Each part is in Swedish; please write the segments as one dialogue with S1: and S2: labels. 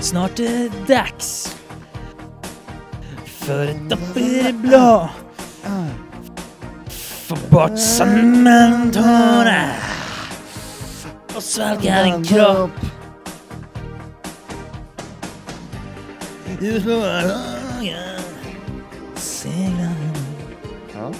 S1: Snart är det dags för ett dopp i det blå. Få bort cementhårna och svalka din kropp. Ut på vågen seglar
S2: Ja.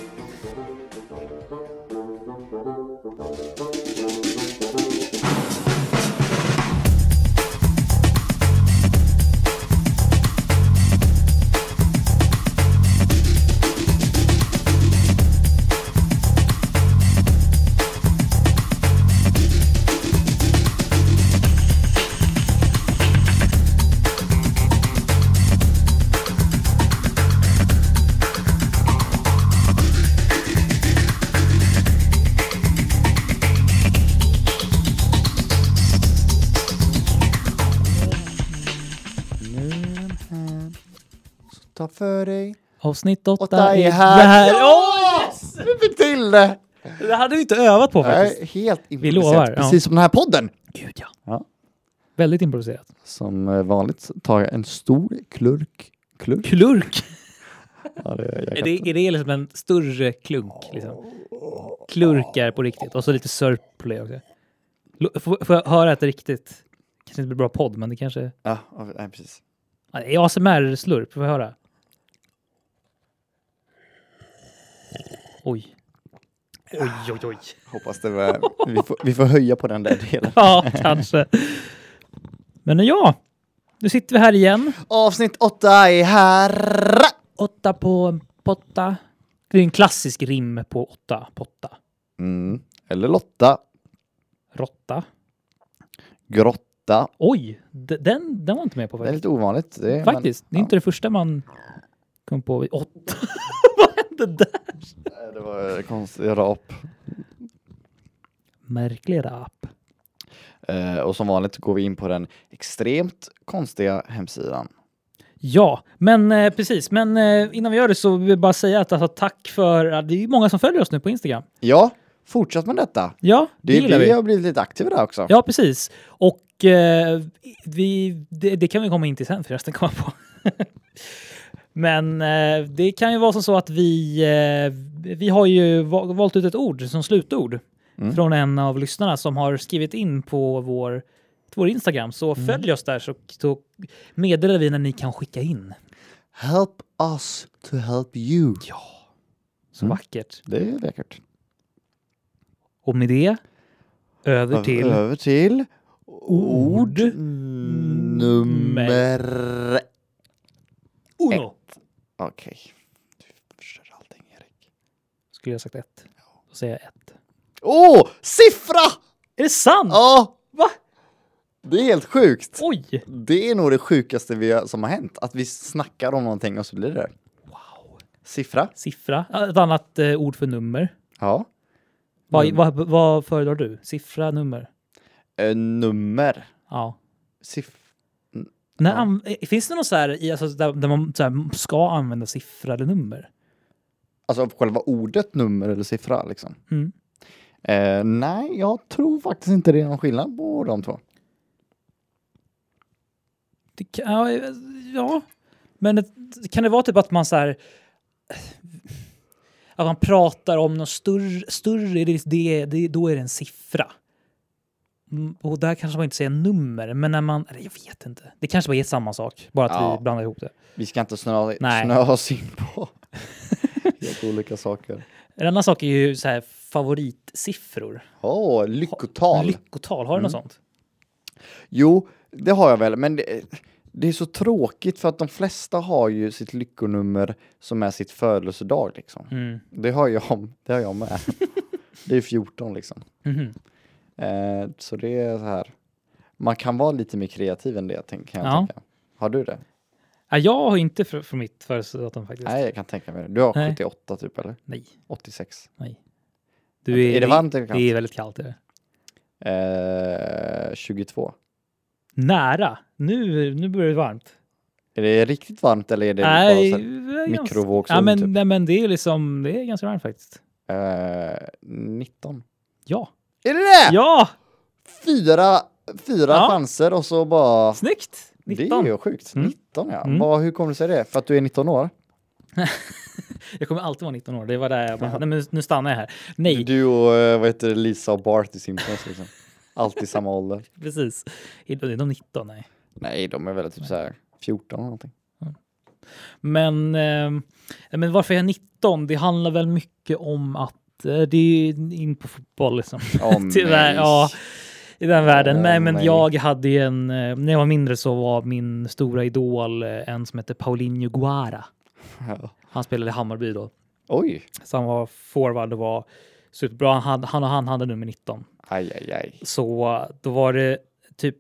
S2: Nu är den här. Så ta för dig.
S1: Avsnitt åtta,
S2: Åtta är här. Oh,
S1: Åh!
S2: Vi fick till det!
S1: Det hade vi inte övat på faktiskt.
S2: Nej, helt
S1: lovar,
S2: improviserat.
S1: ja.
S2: Precis som den här podden.
S1: Gud ja.
S2: Ja.
S1: Väldigt improviserat.
S2: Som eh, vanligt tar jag en stor klurk. Klurk?
S1: Klurk.
S2: Ja, det är, jag
S1: Är
S2: kan-
S1: det, är det liksom en större klunk? Liksom? Klurkar på riktigt. Och så lite sörp på det också. Lo- Får får jag höra ett riktigt... Kanske inte blir bra podd, men det kanske...
S2: Ja, ja, nej, precis.
S1: Ja, det är ASMR-slurp. Får jag höra? Oj. Oj, oj, oj.
S2: Hoppas det var... vi, får, vi får höja på den där delen.
S1: Ja, kanske. Men ja, nu sitter vi här igen.
S2: Avsnitt åtta är här!
S1: Åtta på en potta. Det är en klassisk rim på åtta, potta,
S2: Mm. Eller Lotta.
S1: råtta.
S2: Grotta.
S1: Oj, d- den, den var inte med på
S2: Det är
S1: faktiskt.
S2: lite ovanligt. Det är,
S1: Faktiskt, det är
S2: ja.
S1: inte det första man kom på vid åtta. Vad hände där?
S2: Nej, Det var eh, konstig rap.
S1: Märklig rap.
S2: Eh, och som vanligt går vi in på den extremt konstiga hemsidan.
S1: Ja, men eh, precis. Men eh, innan vi gör det så vill vi bara säga att alltså, tack för... ja, Det är många som följer oss nu på Instagram.
S2: Ja, fortsätt med detta.
S1: Ja, det,
S2: Det,
S1: gillar
S2: vi
S1: vi.
S2: har blivit lite aktiva där också.
S1: Ja, precis. Och eh, vi, det, det kan vi komma in till sen förresten, komma på. Men eh, det kan ju vara som så att vi, eh, vi har ju va- valt ut ett ord som slutord
S2: Mm.
S1: från en av lyssnarna som har skrivit in på vår, vår Instagram. Så
S2: Mm.
S1: följ oss där så, så meddelar vi när ni kan skicka in.
S2: Help us to help you.
S1: Ja, så
S2: Mm.
S1: vackert.
S2: Det är läckert.
S1: Och med det, över till
S2: Över till
S1: ord
S2: nummer...
S1: Uno.
S2: Okej. Du förstör allting, Erik.
S1: Skulle jag ha sagt ett. Då säger jag ett.
S2: Åh! Oh, siffra!
S1: Är det sant?
S2: Ja!
S1: Va?
S2: Det är helt sjukt.
S1: Oj!
S2: Det är nog det sjukaste vi har, som har hänt. Att vi snackar om någonting och så blir det det.
S1: Wow.
S2: Siffra.
S1: Siffra, ett annat eh, ord för nummer.
S2: Ja.
S1: Vad,
S2: Mm.
S1: vad, vad föredrar du? Siffra, nummer?
S2: Eh, nummer.
S1: Ja.
S2: Siff...
S1: När,
S2: Ja.
S1: an- eh, finns det något så här, i, alltså, där, där man så här, ska använda siffra eller nummer?
S2: Alltså själva ordet nummer eller siffra liksom.
S1: Mm.
S2: Eh, nej, jag tror faktiskt inte det är någon skillnad på de två.
S1: Det kan, ja, eh, ja. Men det, kan det vara typ att man så här... eh, Att man pratar om något större, större det, det, det, då är det en siffra. Mm, Och där kanske man inte säger nummer, men när man... Eller jag vet inte. Det kanske bara är samma sak, bara att
S2: Ja.
S1: vi blandar ihop det.
S2: Vi ska inte snöa
S1: Nej.
S2: snöa oss in på helt olika saker.
S1: En annan sak är ju så här favoritsiffror.
S2: Åh, lyckotal.
S1: Lyckotal, har du
S2: Mm.
S1: något sånt?
S2: Jo, det har jag väl, men det, det är så tråkigt för att de flesta har ju sitt lyckonummer som är sitt födelsedag liksom.
S1: Mm.
S2: Det har jag, det har jag med. det är 14 liksom.
S1: Mhm.
S2: Eh, så det är så här. Man kan vara lite mer kreativ än det tänk- kan jag
S1: Ja.
S2: tänka. Har du det?
S1: Ja, jag har inte för, för mitt födelsedatum faktiskt.
S2: Nej, jag kan tänka mig det. Du har
S1: Nej.
S2: 78 typ eller?
S1: Nej.
S2: 86.
S1: nej.
S2: Är
S1: Du är,
S2: det varmt eller kallt?
S1: Det är väldigt kallt. Är det.
S2: Eh, 22.
S1: Nära. Nu, nu börjar det varmt.
S2: Är det riktigt varmt eller är det
S1: nej,
S2: bara så
S1: det är ganska-
S2: mikrovågsugn,
S1: ja, men,
S2: typ?
S1: nej, men det är liksom, det är ganska varmt faktiskt.
S2: här, eh, 19?
S1: Ja.
S2: Är det det?
S1: Ja!
S2: Fyra fyra
S1: Ja.
S2: chanser och så bara...
S1: Snyggt!
S2: Det
S1: 19.
S2: är ju sjukt.
S1: Mm.
S2: 19 ja.
S1: Mm.
S2: Vad- hur kommer det sig det? För att du är 19 år?
S1: Jag kommer alltid vara 19 år. Det var där jag bara, nej, men nu stannar jag här. Nej,
S2: Du och eh, vad heter det, Lisa och Bart i Simpsons liksom. Alltid samma ålder.
S1: precis. Är de 19? Nej.
S2: Nej, de är väl typ så här 14 eller någonting.
S1: Men, eh, men varför är jag 19? Det handlar väl mycket om att eh, det är in på fotboll liksom.
S2: Åh,
S1: Tyvärr,
S2: nej.
S1: ja. I den världen.
S2: Åh,
S1: nej, men
S2: nej.
S1: jag hade ju en... eh, När jag var mindre så var min stora idol eh, en som hette Paulinho Guara.
S2: Ja.
S1: Han spelade i Hammarby då.
S2: Oj,
S1: Så han var forward och var superbra. Han, hade- han och han hade nummer 19.
S2: aj aj aj.
S1: Så då var det typ,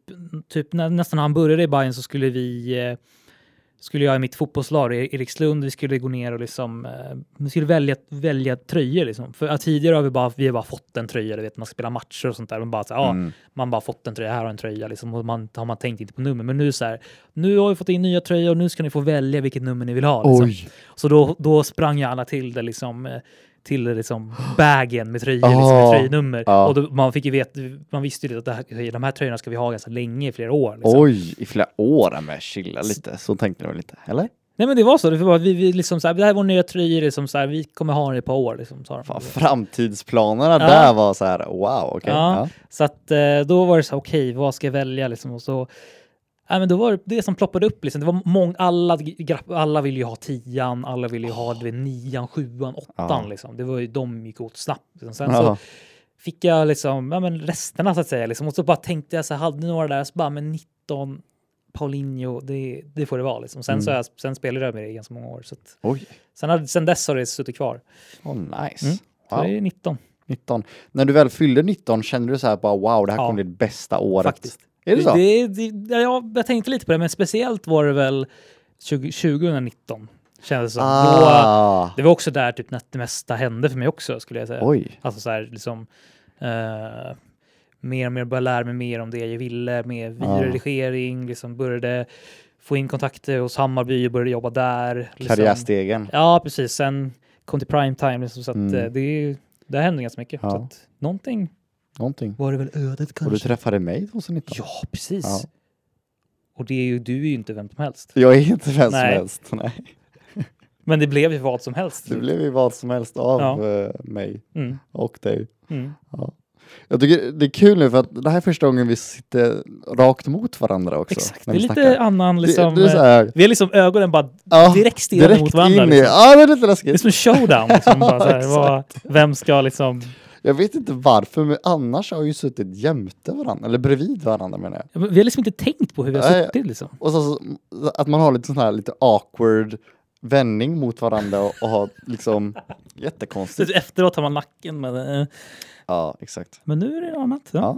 S1: typ när, nästan när han började i Bayern så skulle vi, eh, skulle jag i mitt fotbollslag, i Erikslund, vi skulle gå ner och liksom, eh, vi skulle välja, välja tröjor liksom. För att tidigare har vi bara, vi har bara fått en tröja, du vet, man spelar matcher och sånt där. Man bara, så här, ja,
S2: Mm.
S1: man bara fått en tröja, här har en tröja liksom. Och man har man tänkt inte på nummer. Men nu så här, nu har vi fått in nya tröjor och nu ska ni få välja vilket nummer ni vill ha. Liksom.
S2: Oj,
S1: Så då, då sprang ju alla till det liksom eh, till det liksom bagen med tröjor, liksom,
S2: Ah.
S1: med tröjnummer.
S2: Ja.
S1: Och då, man, fick ju vet, man visste ju att det här, de här tröjorna ska vi ha ganska länge, i flera år. Liksom.
S2: oj, i flera år men chilla lite. Så tänkte jag lite, eller?
S1: Nej men det var så, det, var, vi, vi liksom så här, det här är vår nya tröjor, liksom så här, vi kommer ha den i ett par år. Liksom, sa de.
S2: Fan, framtidsplanerna
S1: Ja.
S2: där var så här, wow, okej.
S1: Ja.
S2: Ja.
S1: Så att eh, då var det så här, okej, vad ska jag välja liksom? Och så, ja, men då var det det som ploppade upp liksom. Det var många, alla, grapp- alla ville ju ha tian, alla ville ju ha du vet, nian, sjuan, åttan
S2: Ja. liksom.
S1: liksom. Det var ju, de gick åt snabbt. Liksom. Sen så
S2: Ja.
S1: fick jag liksom, ja, men resterna så att säga. Liksom. Och så bara tänkte jag så här, hade några där, så bara men 19 Paulinho, det, det får det vara. Liksom. Sen, så har
S2: Mm.
S1: jag, sen spelade jag med det i ganska många år. Så att,
S2: Oj,
S1: sen, hade, sen dess har det suttit kvar.
S2: oh, nice.
S1: Mm. Så
S2: Wow.
S1: det är 19
S2: 19. När du väl fyllde 19 kände du så här bara wow, det här
S1: Ja.
S2: kommer bli det bästa året.
S1: faktiskt.
S2: Är det så?
S1: Det, det, ja, jag tänkte lite på det, men speciellt var det väl 20, 2019 kändes det som. Då,
S2: ah.
S1: det var också där typ när det mesta hände för mig också skulle jag säga.
S2: Oj.
S1: Alltså så här, liksom, eh, mer och mer började lära mig mer om det jag ville med
S2: Ja.
S1: videoredigering, liksom började få in kontakter hos Hammarby och började jobba där. Liksom.
S2: Karriärstegen.
S1: Ja, precis. Sen kom till primetime, liksom, så att
S2: Mm.
S1: eh, det, är ju- det hände ganska mycket.
S2: Ja.
S1: Så att, någonting
S2: Någonting.
S1: var det väl ödet
S2: Och du
S1: kanske.
S2: träffade mig 2019.
S1: Ja, precis.
S2: Ja.
S1: Och det är ju, du är ju inte vem som helst.
S2: Jag är inte vem som
S1: Nej.
S2: helst. Nej.
S1: Men det blev ju vad som helst.
S2: Det blev ju vad som helst av
S1: Ja.
S2: eh, mig
S1: Mm.
S2: och dig.
S1: Mm.
S2: Jag tycker det är kul nu för att det här är första gången vi sitter rakt mot varandra också.
S1: Exakt, det
S2: när
S1: är
S2: vi
S1: lite
S2: snackar.
S1: annan liksom.
S2: det, det är så
S1: eh,
S2: här,
S1: vi är liksom ögonen bara
S2: ja,
S1: direkt stirrade
S2: direkt
S1: mot varandra.
S2: in i,
S1: liksom.
S2: Ja, det är lite
S1: Det är
S2: läskigt.
S1: som en showdown. Liksom, bara så här,
S2: Ja,
S1: vad, vem ska liksom...
S2: Jag vet inte varför, men annars har vi ju suttit jämte varandra, eller bredvid varandra menar jag.
S1: Vi har liksom inte tänkt på hur vi har
S2: Nej.
S1: suttit. Liksom.
S2: Och så, så att man har lite sån här lite awkward vändning mot varandra och, och har liksom
S1: Så
S2: jättekonstigt.
S1: efteråt har man nacken, men, eh,
S2: Ja, exakt.
S1: men nu är det annat. Ja.
S2: Ja.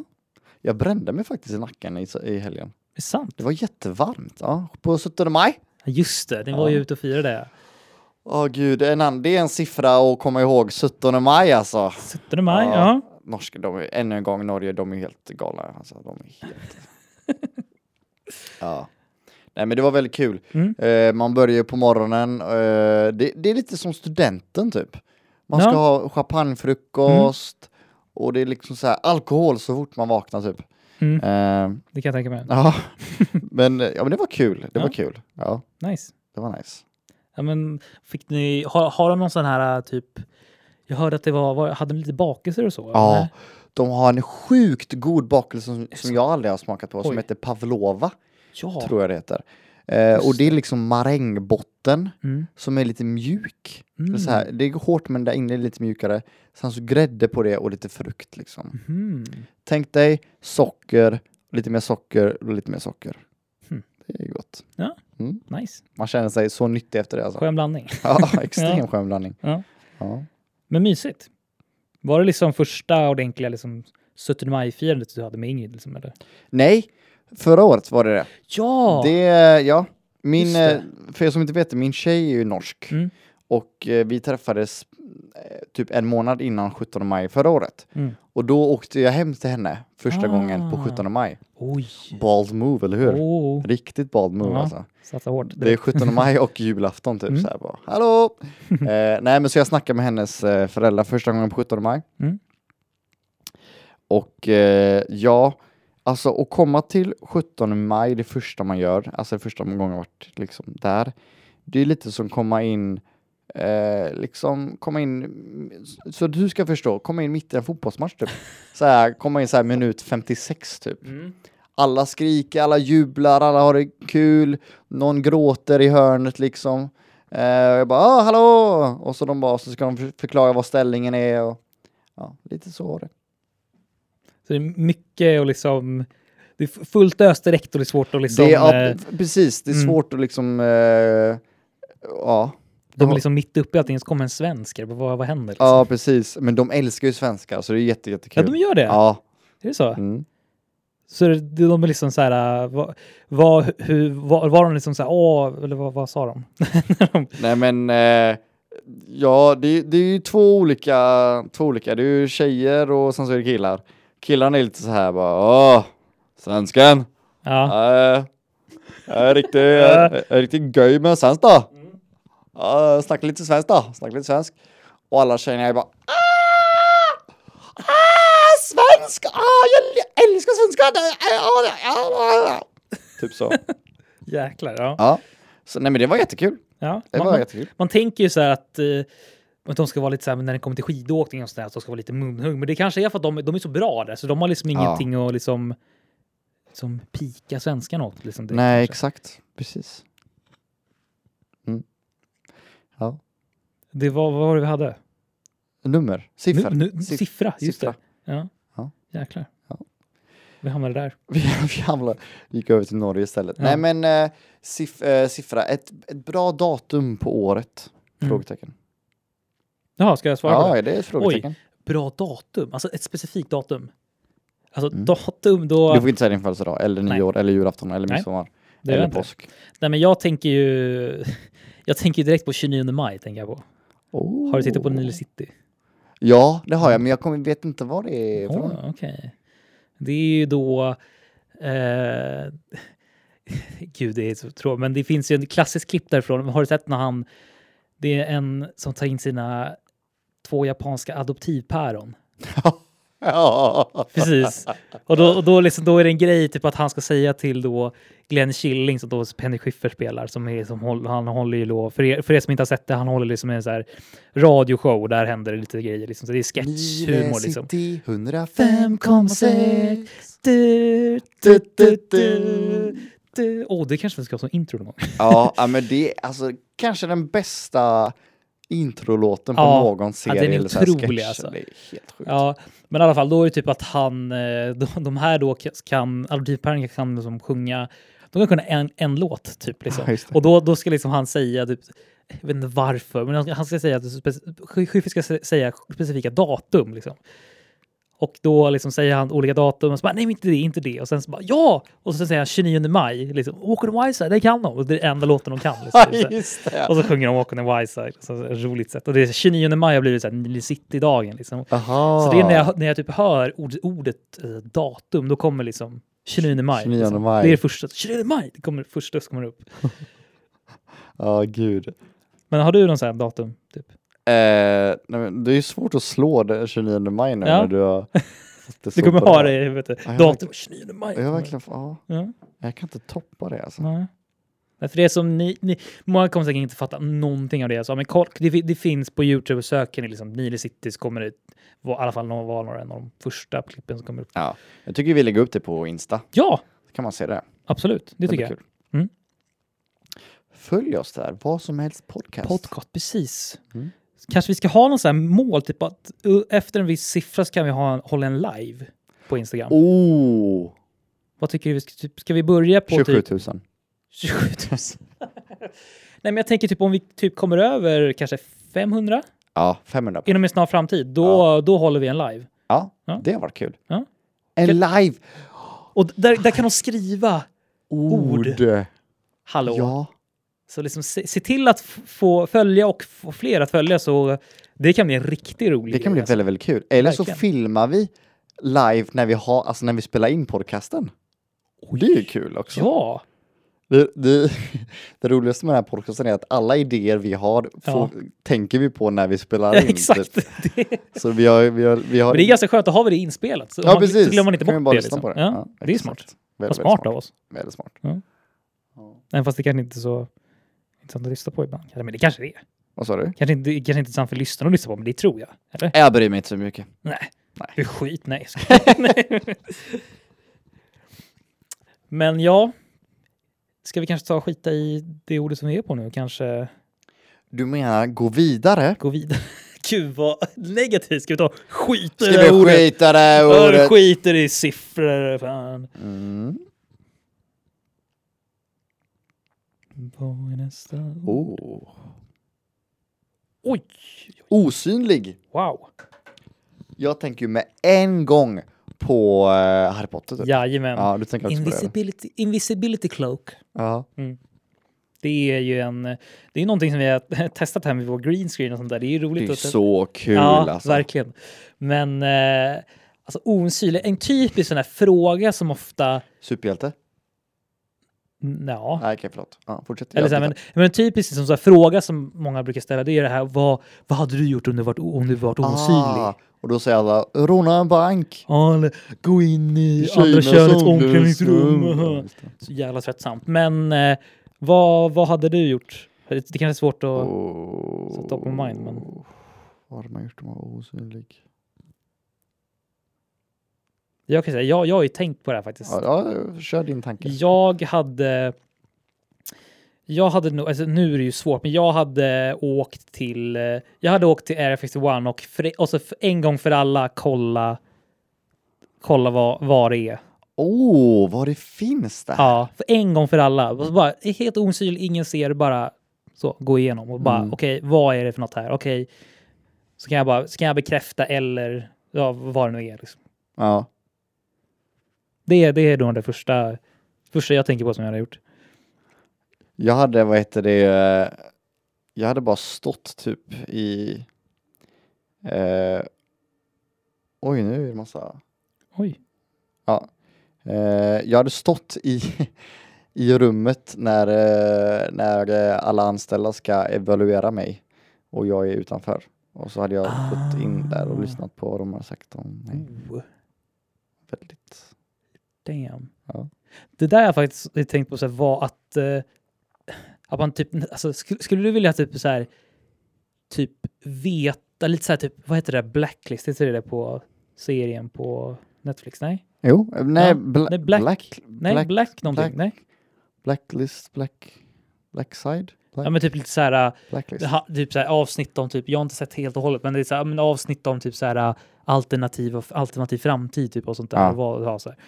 S2: Jag brände mig faktiskt i nacken i, i helgen.
S1: Det är sant.
S2: Det var jättevarmt. Ja. På 17 maj.
S1: Ja, Just det, ni var ju
S2: Ja.
S1: ute och firade. det.
S2: Åh gud, en annan, det är en siffra att komma ihåg. 17 maj alltså.
S1: 17 maj, ja.
S2: Norska, de är, ännu en gång Norge, de är helt galna. Alltså, de är helt... ja. Nej men det var väldigt kul.
S1: Mm.
S2: Eh, man börjar ju på morgonen. Eh, det, det är lite som studenten typ. Man ska
S1: Ja.
S2: ha champagnefrukost och det är liksom så här alkohol så fort man vaknar typ.
S1: Mm.
S2: Eh,
S1: Det kan jag tänka mig.
S2: Ja, men, ja, men det var kul. Det
S1: Ja.
S2: var kul. Ja,
S1: Nice.
S2: det var nice.
S1: Ja, men fick ni, har, har de någon sån här eh, typ... Jag hörde att det var, var hade de lite bakelser och så?
S2: Ja,
S1: eller?
S2: de har en sjukt god bakelse som,
S1: Så-
S2: som jag aldrig har smakat på,
S1: Oj.
S2: som heter pavlova,
S1: ja.
S2: tror jag det heter. Eh, och det är liksom marängbotten
S1: Mm.
S2: som är lite mjuk.
S1: Mm.
S2: Det, är så här, det är hårt men där inne är det lite mjukare. Sen så grädde på det och lite frukt liksom.
S1: Mhm.
S2: Tänk dig socker, lite mer socker och lite mer socker.
S1: Hmm.
S2: Det är gott.
S1: Nice.
S2: Man känner sig så nyttig efter det alltså.
S1: Skön blandning.
S2: Ja, extrem skön blandning.
S1: Ja.
S2: Ja.
S1: Men mysigt. Var det liksom första ordentliga liksom, 17 maj-firandet du hade med Ingrid? Liksom, eller?
S2: Nej, förra året var det det.
S1: Ja!
S2: det eh, ja. Min,
S1: Just det.
S2: eh, För er som inte vet det, min tjej är ju norsk.
S1: Mm.
S2: Och eh, vi träffades eh, typ en månad innan 17 maj förra året.
S1: Mm.
S2: Och då åkte jag hem till henne första
S1: Ah.
S2: gången på 17 maj.
S1: Oj!
S2: Bald move, eller hur?
S1: Oh,
S2: Riktigt bald move
S1: Ja.
S2: alltså.
S1: satsa hårt.
S2: Det är 17 maj och julafton typ.
S1: Mm.
S2: Så här bara, Hallå! eh, nej men så jag snackade med hennes eh, föräldrar första gången på 17 maj.
S1: Mm.
S2: Och eh, ja, Alltså att komma till 17 maj, det första man gör, alltså det första gången jag varit liksom där, det är lite som komma in, eh, liksom komma in, så du ska förstå, komma in mitt i en fotbollsmatch typ. Så här, komma in så här minut 56 typ. Alla skriker, alla jublar, alla har det kul, någon gråter i hörnet liksom. Eh, och jag bara ah, hallå! Och så de bara, så ska de för- förklara vad ställningen är och ja, lite så var det.
S1: Så det är mycket och liksom... Det är f- fullt ös direkt och det är svårt att liksom...
S2: det är,
S1: eh,
S2: ja, precis, det är
S1: mm.
S2: svårt att liksom, eh, ja.
S1: de är liksom mitt uppe i allting, så kommer en svensk. här. Vad, vad händer? Liksom?
S2: Ja, precis. Men de älskar ju svenskar, så det är jätte,
S1: ja,
S2: jättekul.
S1: de gör det.
S2: Ja,
S1: Är det så?
S2: mm.
S1: Så det- det- de är liksom så här... Var, var, hur, var, var de liksom så här... Åh, eller vad, vad sa de?
S2: Nej men, eh, ja, det, det är ju två olika, två olika. Det är ju tjejer och sen så är det killar. Killarna är lite så här bara, åh, svensken.
S1: Ja.
S2: Nej, jag är riktigt, jag är riktigt göj med svensk då. Ja, snacka lite svensk då, snacka lite svensk. Och alla tjejerna är bara "Ah! Ah, svensk! Ah, jag älskar svenska! Ah, ah, ah, ah." Typ så.
S1: Jäklar. Ja.
S2: Ja. Så, nej men det var jättekul.
S1: Ja.
S2: Det
S1: Man,
S2: var
S1: man,
S2: jättekul.
S1: man tänker ju så här att... eh, att de ska vara lite så här, men när det kommer till skidåkning och sådär, att de ska vara lite munhugg. Men det kanske är för att de, de är så bra där, så de har liksom
S2: Ja.
S1: ingenting att liksom... Som pika svenskarna åt. Liksom, direkt,
S2: Nej,
S1: kanske.
S2: exakt. Precis.
S1: Det var vad var det vi hade?
S2: Nummer, siffror.
S1: Nu, nu,
S2: Siff-
S1: siffra, just
S2: siffra.
S1: det. Ja.
S2: Ja.
S1: Jäklar.
S2: Ja.
S1: Vi hamnade där.
S2: Vi, vi hamnade, gick över till Norge istället.
S1: Ja.
S2: Nej men eh, siff, eh, siffra, ett, ett bra datum på året?
S1: Mm.
S2: Frågetecken.
S1: Jaha, ska jag svara på det?
S2: Ja, det är ett frågetecken.
S1: Bra datum, alltså ett specifikt datum. Alltså
S2: Mm.
S1: datum då...
S2: Du får inte säga din födelsedag, eller
S1: Nej.
S2: nyår, eller julafton, eller
S1: Nej,
S2: midsommar,
S1: det gör jag
S2: eller
S1: inte.
S2: påsk.
S1: Nej, men jag tänker ju... Jag tänker ju direkt på 29 maj, tänker jag på.
S2: Oh.
S1: Har du tittat på Nile City?
S2: Ja, det har jag, men jag kommer, vet inte vad det är. för något.
S1: Oh, okay. Det är ju då... Eh, gud, det är så tråkigt. Men det finns ju en klassisk klipp därifrån. Har du sett när han... Det är en som tar in sina två japanska adoptivpäron.
S2: Ja.
S1: Precis. Och, då, och då, liksom, då är det en grej typ att han ska säga till då Glenn Killing som då Penny Schiffer spelar. Som är, som håll, han håller ju då, för er, för er som inte har sett det, han håller liksom en så här radioshow. Där händer det lite grejer. Liksom. Så det är sketchhumor. Liksom.
S2: City
S1: 105,6.
S2: 105,6.
S1: Du, du, du, du, du. Åh, det kanske vi ska ha som intro någon gång.
S2: Ja, ja, men det är alltså kanske den bästa introlåten på
S1: Ja,
S2: någon
S1: ja,
S2: serie.
S1: den är
S2: eller så här
S1: otrolig,
S2: sketch.
S1: alltså.
S2: Det är helt sjukt.
S1: Ja, men i alla fall, då är det typ att han, eh, de, de här då kan, adoptivpären kan liksom sjunga, de kan kunna en, en låt typ. Liksom.
S2: Ja, just det.
S1: Och då, då ska liksom han säga, typ, jag vet inte varför, men han ska- han ska säga, att spec- Schy- Schyffert ska sä- säga specifika datum. Liksom. Och då liksom säger han olika datum och så bara nej, men inte det, inte det. Och sen så bara ja! Och så säger han 29 maj, liksom, åker de Wiser, det kan de. Och det är enda låten de kan. Liksom,
S2: Ja, just det.
S1: Och så sjunger de Walk on the Wiser, liksom, ett roligt sätt. Och det är 29 maj har blivit så här Nile City-dagen. Liksom.
S2: Aha.
S1: Så det är
S2: Ah.
S1: när jag, när jag typ hör ord, ordet eh, datum, då kommer liksom 29 maj.
S2: 29
S1: liksom.
S2: maj.
S1: Det är det första. 29 maj! Det kommer det första som kommer upp.
S2: Ja, gud.
S1: Men har du någon sån här datum? Typ?
S2: Eh, nej, men det är ju svårt att slå det 29 maj nu
S1: Ja.
S2: när du har... fått
S1: Du
S2: så
S1: kommer
S2: bra.
S1: ha det i huvudet.
S2: jag
S1: Datum 29 maj.
S2: Jag, verkligen, ja,
S1: Ja.
S2: jag kan inte toppa det alltså.
S1: Nej. Nej, för det är som ni, ni, många kommer säkert inte fatta någonting av det jag sa, men koll, det, fi- det finns på Youtube, och söker ni liksom Nile City så kommer det vara, i alla fall någon- vara några av de första klippen som kommer upp.
S2: Ja, jag tycker vi lägger upp det på Insta.
S1: Ja,
S2: Så kan man se det.
S1: absolut. Det,
S2: blir
S1: tycker jag.
S2: kul.
S1: Mm.
S2: Följ oss där, vad som helst podcast.
S1: Podcast, precis.
S2: Mm.
S1: Kanske vi ska ha någon sån här mål, typ att uh, efter en viss siffra så kan vi ha en, hålla en live på Instagram.
S2: oh,
S1: Vad tycker du? Vi ska, typ, ska vi börja på
S2: 27
S1: typ
S2: 000.
S1: 27 000? Nej, men jag tänker typ om vi typ kommer över kanske 500
S2: Ja, 500.
S1: inom en snar framtid, då, då håller vi en live.
S2: Ja,
S1: Ja.
S2: det var kul.
S1: Ja.
S2: En live
S1: Och där, där kan de skriva Ord. hallå.
S2: Ja,
S1: Så liksom se, se till att f- få följa och få fler att följa så det kan bli en riktigt rolig
S2: det kan bli
S1: grej, alltså.
S2: väldigt, väldigt kul. Eller så
S1: Verkligen.
S2: filmar vi live när vi, har, alltså när vi spelar in podcasten. Det är ju kul också.
S1: Ja,
S2: Det, det, det roligaste med den här podcasten är att alla idéer vi har får, tänker vi på när vi spelar in.
S1: Exakt.
S2: typ.
S1: Det, är-
S2: Så vi har, vi har, vi har
S1: men det är ganska skönt att ha det inspelat. Så,
S2: Ja,
S1: man,
S2: precis.
S1: så glömmer man inte
S2: Kan vi
S1: bort
S2: bara
S1: det.
S2: lyssna
S1: Liksom.
S2: på det.
S1: Ja,
S2: Ja,
S1: det är
S2: exakt.
S1: smart. Vad
S2: Väldigt, väldigt
S1: smart av oss.
S2: Väldigt smart.
S1: Nej, fast det kanske inte är så intressant att lyssna på ibland. Kanske- Men det kanske det är.
S2: Vad sa du?
S1: Kanske inte, kanske inte intressant för lyssnarna att lyssna på, men det tror jag. Eller?
S2: Jag bryr mig inte så mycket.
S1: Nej.
S2: Eh, Nej.
S1: Det är skit, nej. Nej. Men ja, ska vi kanske ta och skita i det ordet som vi är på nu och kanske
S2: Du menar gå vidare?
S1: gå vidare? Gud vad negativt. Ska vi ta skit i
S2: Ska
S1: det här
S2: vi
S1: ordet?
S2: skita det här
S1: Ja, du
S2: ordet?
S1: skiter i siffror. Fan.
S2: Mm.
S1: Vad är nästa?
S2: Oh.
S1: Oj,
S2: Osynlig.
S1: wow.
S2: Jag tänker ju med en gång på eh, Harry Potter. Typ.
S1: Jajamän.
S2: Ja, du tänker också på det?
S1: Invisibility, invisibility cloak.
S2: Ja.
S1: Det är ju en, det är någonting som vi har testat här med vår green screen och sånt där. Det är ju
S2: Det
S1: roligt.
S2: är
S1: att-
S2: så kul
S1: ja,
S2: alltså.
S1: verkligen. Men eh, alltså osynlig, en typisk sån här fråga som ofta,
S2: Superhjälte?
S1: ja.
S2: Nej, okej, förlåt. Ja, fortsätt.
S1: Eller
S2: Jag
S1: så här, men,
S2: tittar.
S1: men en typisk som så här, fråga som många brukar ställa det är det här, vad, vad hade du gjort om du varit, o- om du varit osynlig?
S2: Ah, och då säger alla råna en bank.
S1: Ja, eller gå in i
S2: Tjejerna
S1: andra könets
S2: som
S1: omklädningsrum.
S2: löser- Ja, just det.
S1: Så jävla tröttsamt. Men eh, vad, vad hade du gjort? Det det kanske är svårt att...
S2: Oh.
S1: så top of mind, men-
S2: Vad hade man gjort om man var osynlig?
S1: Jag kan säga, jag, jag har ju tänkt på det här faktiskt.
S2: Ja, ja, kör din tanke.
S1: Jag hade... Jag hade nog, alltså nu är det ju svårt, men jag hade åkt till, eh, jag hade åkt till Area 51 och, för, och så för en gång för alla kolla, kolla vad, vad det är.
S2: Åh, vad det finns där!
S1: Ja, för en gång för alla. Och så Bara, helt osynlig, ingen ser, bara så, gå igenom och bara
S2: Mm.
S1: okej, vad är det för något här? Okej, så kan jag bara, så kan jag bekräfta eller ja, vad det nu är. Liksom.
S2: Ja.
S1: Det, det är då det första, första jag tänker på som jag har gjort.
S2: Jag hade, vad heter det, eh, jag hade bara stått typ i... Eh, oj, nu är det en massa...
S1: Oj.
S2: Eh, jag hade stått i, i rummet när, eh, när eh, alla anställda ska evaluera mig och jag är utanför. Och så hade jag gått in där och
S1: Ah.
S2: lyssnat på vad de har sagt om mig.
S1: Oh,
S2: Väldigt.
S1: damn.
S2: Ja.
S1: Det där har jag faktiskt tänkt på så här, var att, eh, att man typ, alltså, skulle, skulle du vilja typ så här, typ veta lite så här, typ, vad heter det där, blacklist, heter det där på serien på Netflix? Nej,
S2: Jo, eh, nej,
S1: Ja,
S2: bla-
S1: nej, black-
S2: black,
S1: nej, black, någonting,
S2: black-
S1: nej.
S2: Blacklist, black, blackside, black,
S1: Ja, men typ lite så här,
S2: blacklist.
S1: Det ha- typ så här avsnitt om, typ, jag har inte sett helt och hållet, men det är så här, men avsnitt om typ så här, äh, alternativ, och, alternativ framtid typ, och sånt där.
S2: Ja.
S1: Och vad, ja, så här.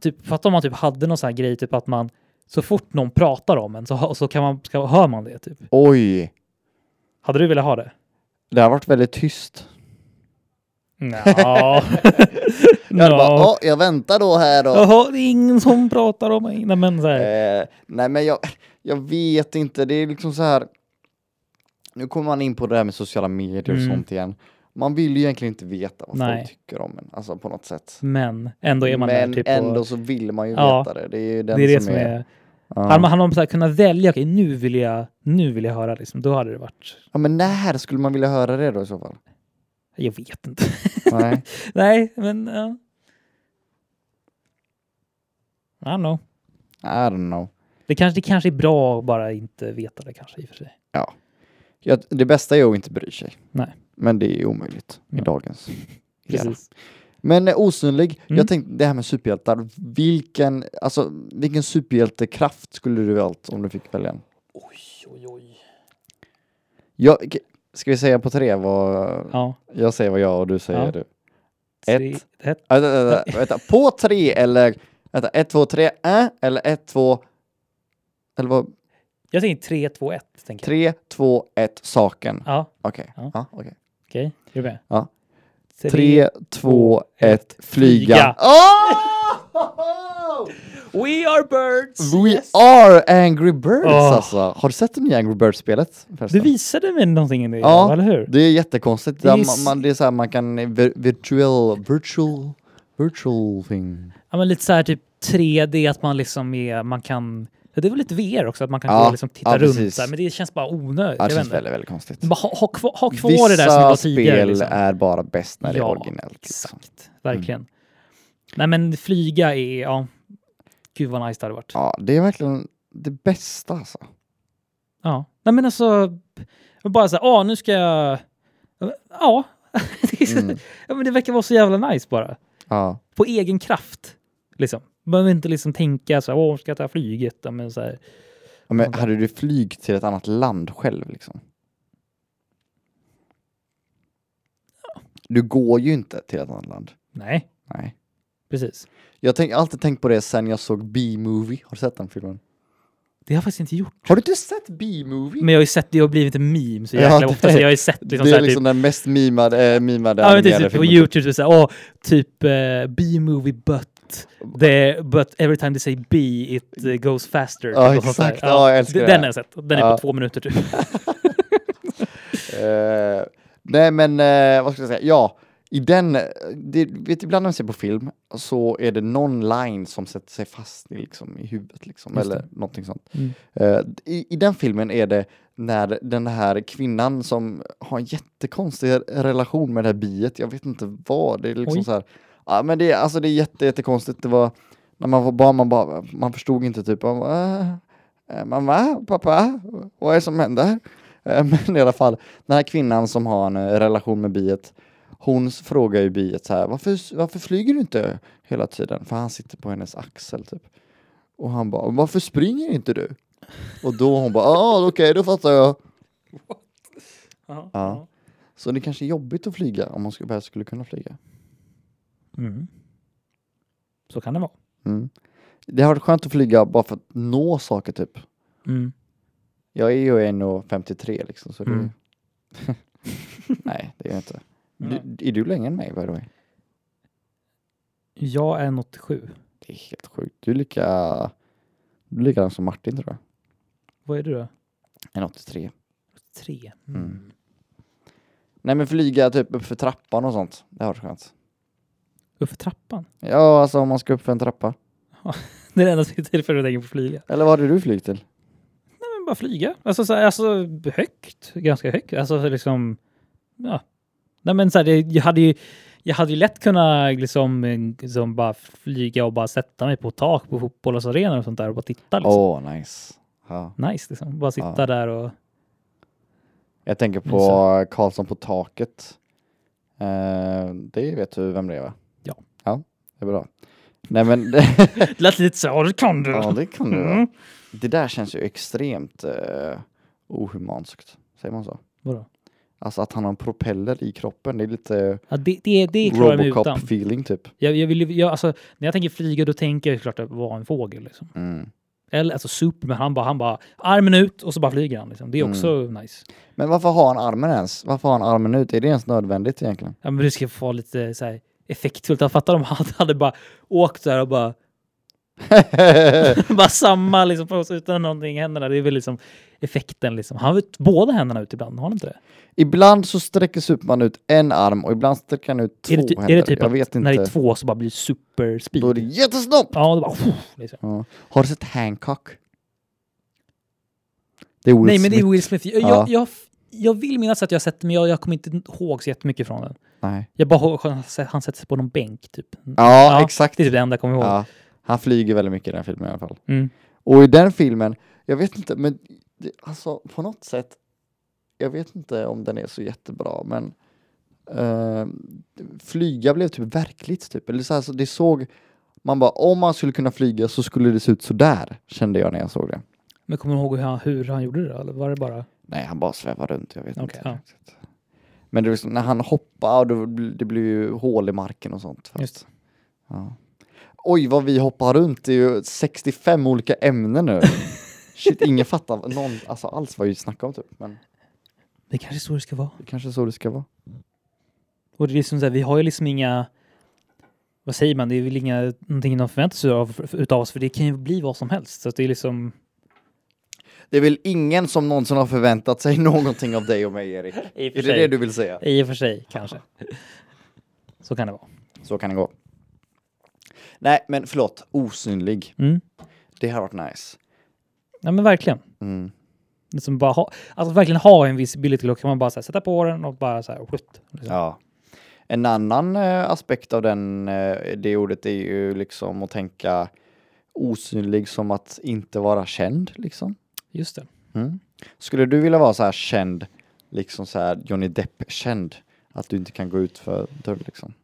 S1: Typ, fatta om man typ hade någon sån här grej, typ att man så fort någon pratar om en så, hö- så kan man, ska, hör man det. Typ.
S2: Oj,
S1: Hade du velat ha det?
S2: det har varit väldigt tyst.
S1: Nja.
S2: Jag hade bara,
S1: Nja.
S2: "Ja, jag väntar då här då.
S1: Jaha, det är ingen som pratar om mig. Nej, men så här.
S2: Eh, nej men jag, jag vet inte, det är liksom så här. Nu kommer man in på det här med sociala medier och
S1: Mm.
S2: sånt igen. Man vill ju egentligen inte veta vad
S1: Nej.
S2: folk tycker om en, alltså på något sätt.
S1: Men ändå är man
S2: men
S1: där. Typ, och-
S2: ändå så vill man ju
S1: Ja,
S2: veta det. Det är ju den
S1: det är det
S2: som är...
S1: Hade man,
S2: Ja.
S1: hade man så här kunnat välja, okej nu vill jag, nu vill jag höra, liksom, då hade det varit,
S2: ja men när skulle man vilja höra det då i så fall?
S1: jag vet inte.
S2: Nej.
S1: Nej, men... Ja. I don't know.
S2: I don't know.
S1: Det kanske, det kanske är bra att bara inte veta det kanske i och för sig.
S2: Ja, det bästa är att inte bry sig.
S1: Nej.
S2: Men det är omöjligt
S1: Ja.
S2: i dagens. era.
S1: Precis.
S2: Men eh, osynlig,
S1: Mm.
S2: jag tänkte det här med superhjältar. Vilken, alltså, vilken superhjältekraft skulle du valt om du fick välja en?
S1: Oj, oj, oj.
S2: Jag, okej, ska vi säga på tre vad
S1: Ja.
S2: jag säger vad jag och du säger
S1: Ja.
S2: du?
S1: tre-
S2: Ett.
S1: ett.
S2: Äh, vänta, vänta, vänta, på tre eller vänta, ett, två, tre, äh, eller ett, två, eller vad,
S1: Jag tänker 3, 2, 1. Tänker jag.
S2: tre, två, ett, saken.
S1: Ja,
S2: Okej.
S1: Ja.
S2: Ja, okej.
S1: okej. Är du med?
S2: Ja.
S1: Tre.
S2: Tre, två, ett,
S1: flyga.
S2: flyga. Åh!
S1: We are birds!
S2: We are Angry Birds
S1: Åh.
S2: alltså. Har du sett det nya Angry Birds-spelet?
S1: Du
S2: förresten?
S1: visade mig någonting i det,
S2: Ja.
S1: eller hur?
S2: Det är jättekonstigt.
S1: Det är
S2: Det
S1: ju
S2: man, man, det är så här, man kan vir- virtual, virtual, virtual thing.
S1: Ja, men lite så här typ 3D, att man liksom är, man kan Ja, Det är väl lite VR också, att man kan
S2: Ja,
S1: gå och liksom titta
S2: ja,
S1: runt.
S2: precis.
S1: Så här, men det känns bara onödigt.
S2: Ja,
S1: jag vet
S2: det känns
S1: inte.
S2: väldigt, väldigt konstigt.
S1: Bara ha, ha, kvar, ha kvar
S2: Vissa
S1: det där som det var
S2: spel
S1: tidigare. Liksom.
S2: är bara bäst när det
S1: Ja,
S2: är originellt. Liksom.
S1: Exakt, verkligen. Nej men flyga är, ja. Gud vad nice det hade varit. Ja.
S2: Ja, det är verkligen det bästa alltså.
S1: Nej men alltså, bara så här, ja nu ska jag... Ja. Det är så-
S2: Mm.
S1: ja men det verkar vara så jävla nice bara.
S2: Ja.
S1: På egen kraft. Liksom. Behöver inte liksom tänka så här, åh ska jag ta flyget? Ja, men så här,
S2: Ja, Men hade du flyg till ett annat land själv liksom? Du går ju inte till ett annat land.
S1: nej,
S2: Nej.
S1: precis.
S2: Jag tänk- har alltid tänkt på det sen jag såg B-movie. Har du sett den filmen?
S1: Det har jag faktiskt inte gjort.
S2: Har du inte sett B-movie?
S1: Men jag har ju sett, det har blivit en meme så
S2: Ja,
S1: jäkla
S2: det-
S1: ofta. Så jag har ju sett liksom,
S2: det
S1: så här,
S2: är liksom den mest mimade, äh, mimade
S1: Ja, men
S2: animerade
S1: typ på
S2: filmen.
S1: Youtube, typ såhär, åh, typ eh, B-movie but, the, but every time they say B it eh, goes faster.
S2: Ja,
S1: typ, och sånt
S2: exakt.
S1: där.
S2: Ja, jag älskar
S1: d-
S2: det.
S1: Den har jag sett. Den är
S2: Ja.
S1: på två minuter typ.
S2: Eh, nej men eh, vad ska jag säga, ja, i den, eh, det, vet du, ibland när man ser på film så är det någon line som sätter sig fast i, liksom, i huvudet liksom,
S1: Just det. Mm.
S2: eller någonting sånt. Eh, i, I den filmen är det när den här kvinnan som har en jättekonstig relation med det här biet, jag vet inte vad, det är liksom
S1: Oj.
S2: så här, ja men det är, alltså det är jätte, jättekonstigt, det var när man var barn, man, bara, man förstod inte typ, man bara, "Äh, äh, mamma, pappa, vad är det som händer? Eh, Men i alla fall, den här kvinnan som har en eh, relation med biet, hon s- frågar ju biet så här, varför, varför flyger du inte hela tiden? För han sitter på hennes axel typ. Och han bara, varför springer inte du? Och då hon bara, ja okej då fattar jag.
S1: Ja.
S2: Ja. Så det kanske är jobbigt att flyga om man skulle, väl skulle kunna flyga.
S1: Mm. Så kan det vara.
S2: Mm. Det har varit skönt att flyga bara för att nå saker typ.
S1: Mm.
S2: Jag är ju 1,53 liksom så det...
S1: Mm.
S2: Nej, det är jag inte.
S1: Nej.
S2: Du, är du längre än mig by the way?
S1: Jag är en 87.
S2: Det är helt sjukt. Du är lika... Du är likadan som Martin tror jag.
S1: Vad är du då?
S2: En 83.
S1: Tre.
S2: Mm. Nej men flyga typ upp för trappan och sånt. Det har varit skönt.
S1: Uppför trappan?
S2: Ja, alltså om man ska upp för en trappa.
S1: Det är det enda tillfället jag tänker på flyga.
S2: Eller vad hade du flyg till?
S1: Nej, men bara flyga. Alltså, så här, alltså högt, ganska högt. Alltså liksom, ja. Nej men så här, det, jag, hade ju, jag hade ju lätt kunnat liksom, eh, liksom bara flyga och bara sätta mig på tak på fotbollsarenor och sånt där och bara titta. Liksom.
S2: Åh, nice. Ja.
S1: Nice liksom, bara sitta
S2: Ja.
S1: där och...
S2: Jag tänker på
S1: Mysa.
S2: Karlsson på taket. Eh, det vet du vem det är va?
S1: Ja.
S2: Ja, det är bra. Nej men,
S1: Det lät lite så, "Ja, det kan du!
S2: ja det kan du va?
S1: Mm.
S2: Det där känns ju extremt eh, ohumanskt. Säger man så?
S1: Vadå?
S2: Alltså att han har en propeller i kroppen, det är lite
S1: Ja, det, det, det klarar jag mig utan.
S2: Robocop-feeling typ.
S1: Jag, jag vill, ju- jag, alltså, när jag tänker flyga då tänker jag såklart att vara en fågel. Liksom.
S2: Mm.
S1: Eller alltså Superman, han bara, han bara armen ut och så bara flyger han. Liksom. Det
S2: Mm.
S1: är också nice.
S2: Men varför har han armen ens? Varför har han armen ut? Är det ens nödvändigt egentligen?
S1: Ja, men det ska få lite så här, effektfullt. Jag fattar om han hade bara åkt där och bara, bara samma liksom, på oss utan någonting i händerna. Det är väl liksom effekten. Liksom. Han har ut båda händerna ut ibland, har han inte det?
S2: ibland så sträcker Superman ut en arm och ibland sträcker han ut två
S1: är det, ty-
S2: händer.
S1: är det typ
S2: Jag
S1: att
S2: vet inte.
S1: när det är två så bara blir det superspeed?
S2: Då är det jättesnabbt!
S1: Ja, det bara... Pff, liksom.
S2: Ja. Har du sett Hancock? Det är Will
S1: Nej, men
S2: Smith.
S1: det är Will Smith. Jag,
S2: Ja.
S1: jag, jag, jag vill minnas att jag har sett det, men jag, jag kommer inte ihåg så jättemycket från den.
S2: Nej.
S1: Jag bara ihåg att han- han sätter sig på någon bänk, typ.
S2: Ja, exakt.
S1: Det är typ det enda jag kommer ihåg.
S2: Ja. Han flyger väldigt mycket i den filmen i alla fall.
S1: Mm.
S2: Och i den filmen, jag vet inte, men det, alltså på något sätt, jag vet inte om den är så jättebra, men eh, flyga blev typ verkligt typ. Eller så här, så det såg, man bara om man skulle kunna flyga så skulle det se ut sådär, kände jag när jag såg det.
S1: Men kommer du ihåg hur han, hur han gjorde det? då? Eller var det bara...
S2: Nej, han bara svävar runt, jag vet
S1: Okej,
S2: inte.
S1: ja.
S2: riktigt. Men det var liksom, när han hoppar, då, bl- det blir ju hål i marken och sånt. fast-
S1: Just.
S2: Ja. Oj, vad vi hoppar runt, det är ju 65 olika ämnen nu. Shit, ingen fattar vad- någon, alltså, alls vad vi snackar om typ. Men
S1: Det kanske är så det ska vara.
S2: det kanske är så det ska vara.
S1: Och det är liksom så här, vi har ju liksom inga... Vad säger man? Det är väl inga, någonting de förväntar sig av, utav oss, för det kan ju bli vad som helst. Så att det är liksom...
S2: Det är väl ingen som någonsin har förväntat sig någonting av dig och mig, Erik?
S1: I och
S2: Är det det du vill säga?
S1: I och för sig, kanske. Så kan det vara.
S2: Så kan det gå. Nej, men förlåt, osynlig.
S1: Mm.
S2: Det har varit nice.
S1: Ja, men verkligen.
S2: Mm.
S1: Liksom bara ha, alltså verkligen ha en visibility lock. Kan man bara så här, sätta på den och bara så här... Skjutt, liksom.
S2: Ja. En annan eh, aspekt av den, eh, det ordet är ju liksom att tänka osynlig som att inte vara känd. Liksom.
S1: Just det.
S2: Mm. Skulle du vilja vara så här känd, liksom så här Johnny Depp-känd? Att du inte kan gå ut för dörr liksom?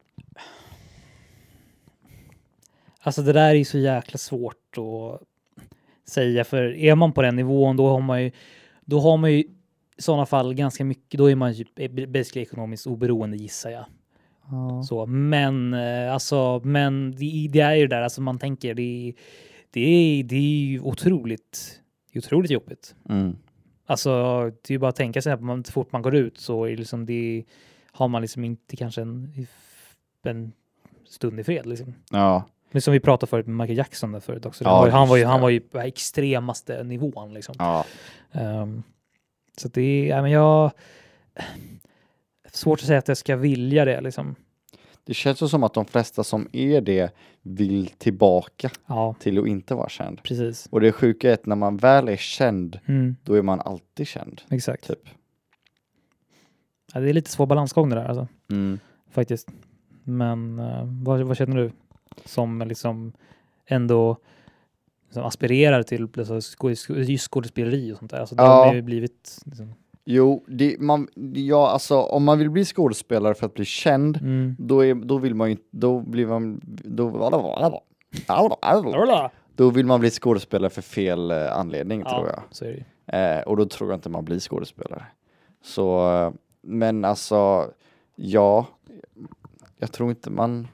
S1: Alltså det där är ju så jäkla svårt att säga, för är man på den nivån då har man ju, då har man ju i sådana fall ganska mycket, då är man ju basically ekonomiskt oberoende gissar jag. Så, men eh, alltså, men det, det är ju det där, alltså man tänker det, det, är- det är ju otroligt, det är otroligt jobbigt.
S2: Mm.
S1: Alltså det är ju bara att tänka sig att man, så fort man går ut så är det liksom det, har man liksom inte kanske en, en stund i fred liksom.
S2: Ja.
S1: Men som vi pratade förut med Michael Jackson där förut också.
S2: Ja,
S1: han, var ju, han, var ju,
S2: just
S1: han
S2: det.
S1: var ju på extremaste nivån liksom.
S2: ja.
S1: Ehm, så att det är, ja, men jag... Svårt att säga att jag ska vilja det liksom.
S2: Det känns ju som att de flesta som är det vill tillbaka
S1: Ja,
S2: till att inte vara känd.
S1: precis.
S2: Och det sjuka är att när man väl är känd,
S1: Mm,
S2: då är man alltid känd.
S1: exakt.
S2: Typ.
S1: Ja, det är lite svår balansgång det där alltså,
S2: Mm.
S1: faktiskt. Men eh, vad, vad känner du som liksom ändå som aspirerar till alltså, sko- sko- just skådespeleri och sånt där? Alltså, det
S2: Ja.
S1: har ju blivit... Liksom,
S2: Jo, det, man, ja, alltså, om man vill bli skådespelare för att bli känd,
S1: mm.
S2: då, är, då vill man ju då blir man, då, då vill man bli skådespelare för fel eh, anledning tror jag.
S1: så är det ju.
S2: Eh, och då tror jag inte man blir skådespelare. Så, eh, men alltså, ja, jag tror inte man,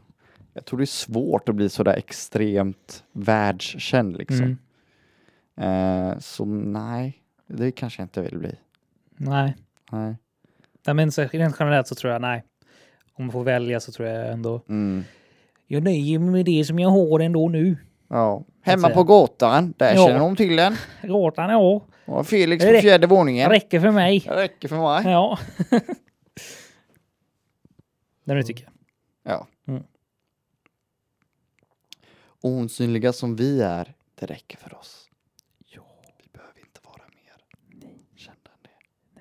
S2: jag tror det är svårt att bli sådär extremt världskänd liksom.
S1: Mm.
S2: Eh, så nej, det kanske jag inte vill bli.
S1: Nej.
S2: Nej.
S1: Nej, men så, rent generellt så tror jag nej. Om man får välja så tror jag ändå.
S2: Mm.
S1: Jag nöjer mig med det som jag har ändå nu.
S2: Ja.
S1: Hemma
S2: Hemma
S1: på
S2: på gatan, där
S1: Ja.
S2: känner de till den.
S1: Gråtan ja,
S2: Och Felix
S1: på
S2: på
S1: Räck-
S2: fjärde våningen.
S1: räcker för mig.
S2: Det räcker för mig.
S1: Ja. Nej, men det tycker jag.
S2: Ja.
S1: Mm.
S2: Osynliga som vi är, det räcker för oss. Ja. Vi behöver inte vara mer kända än det.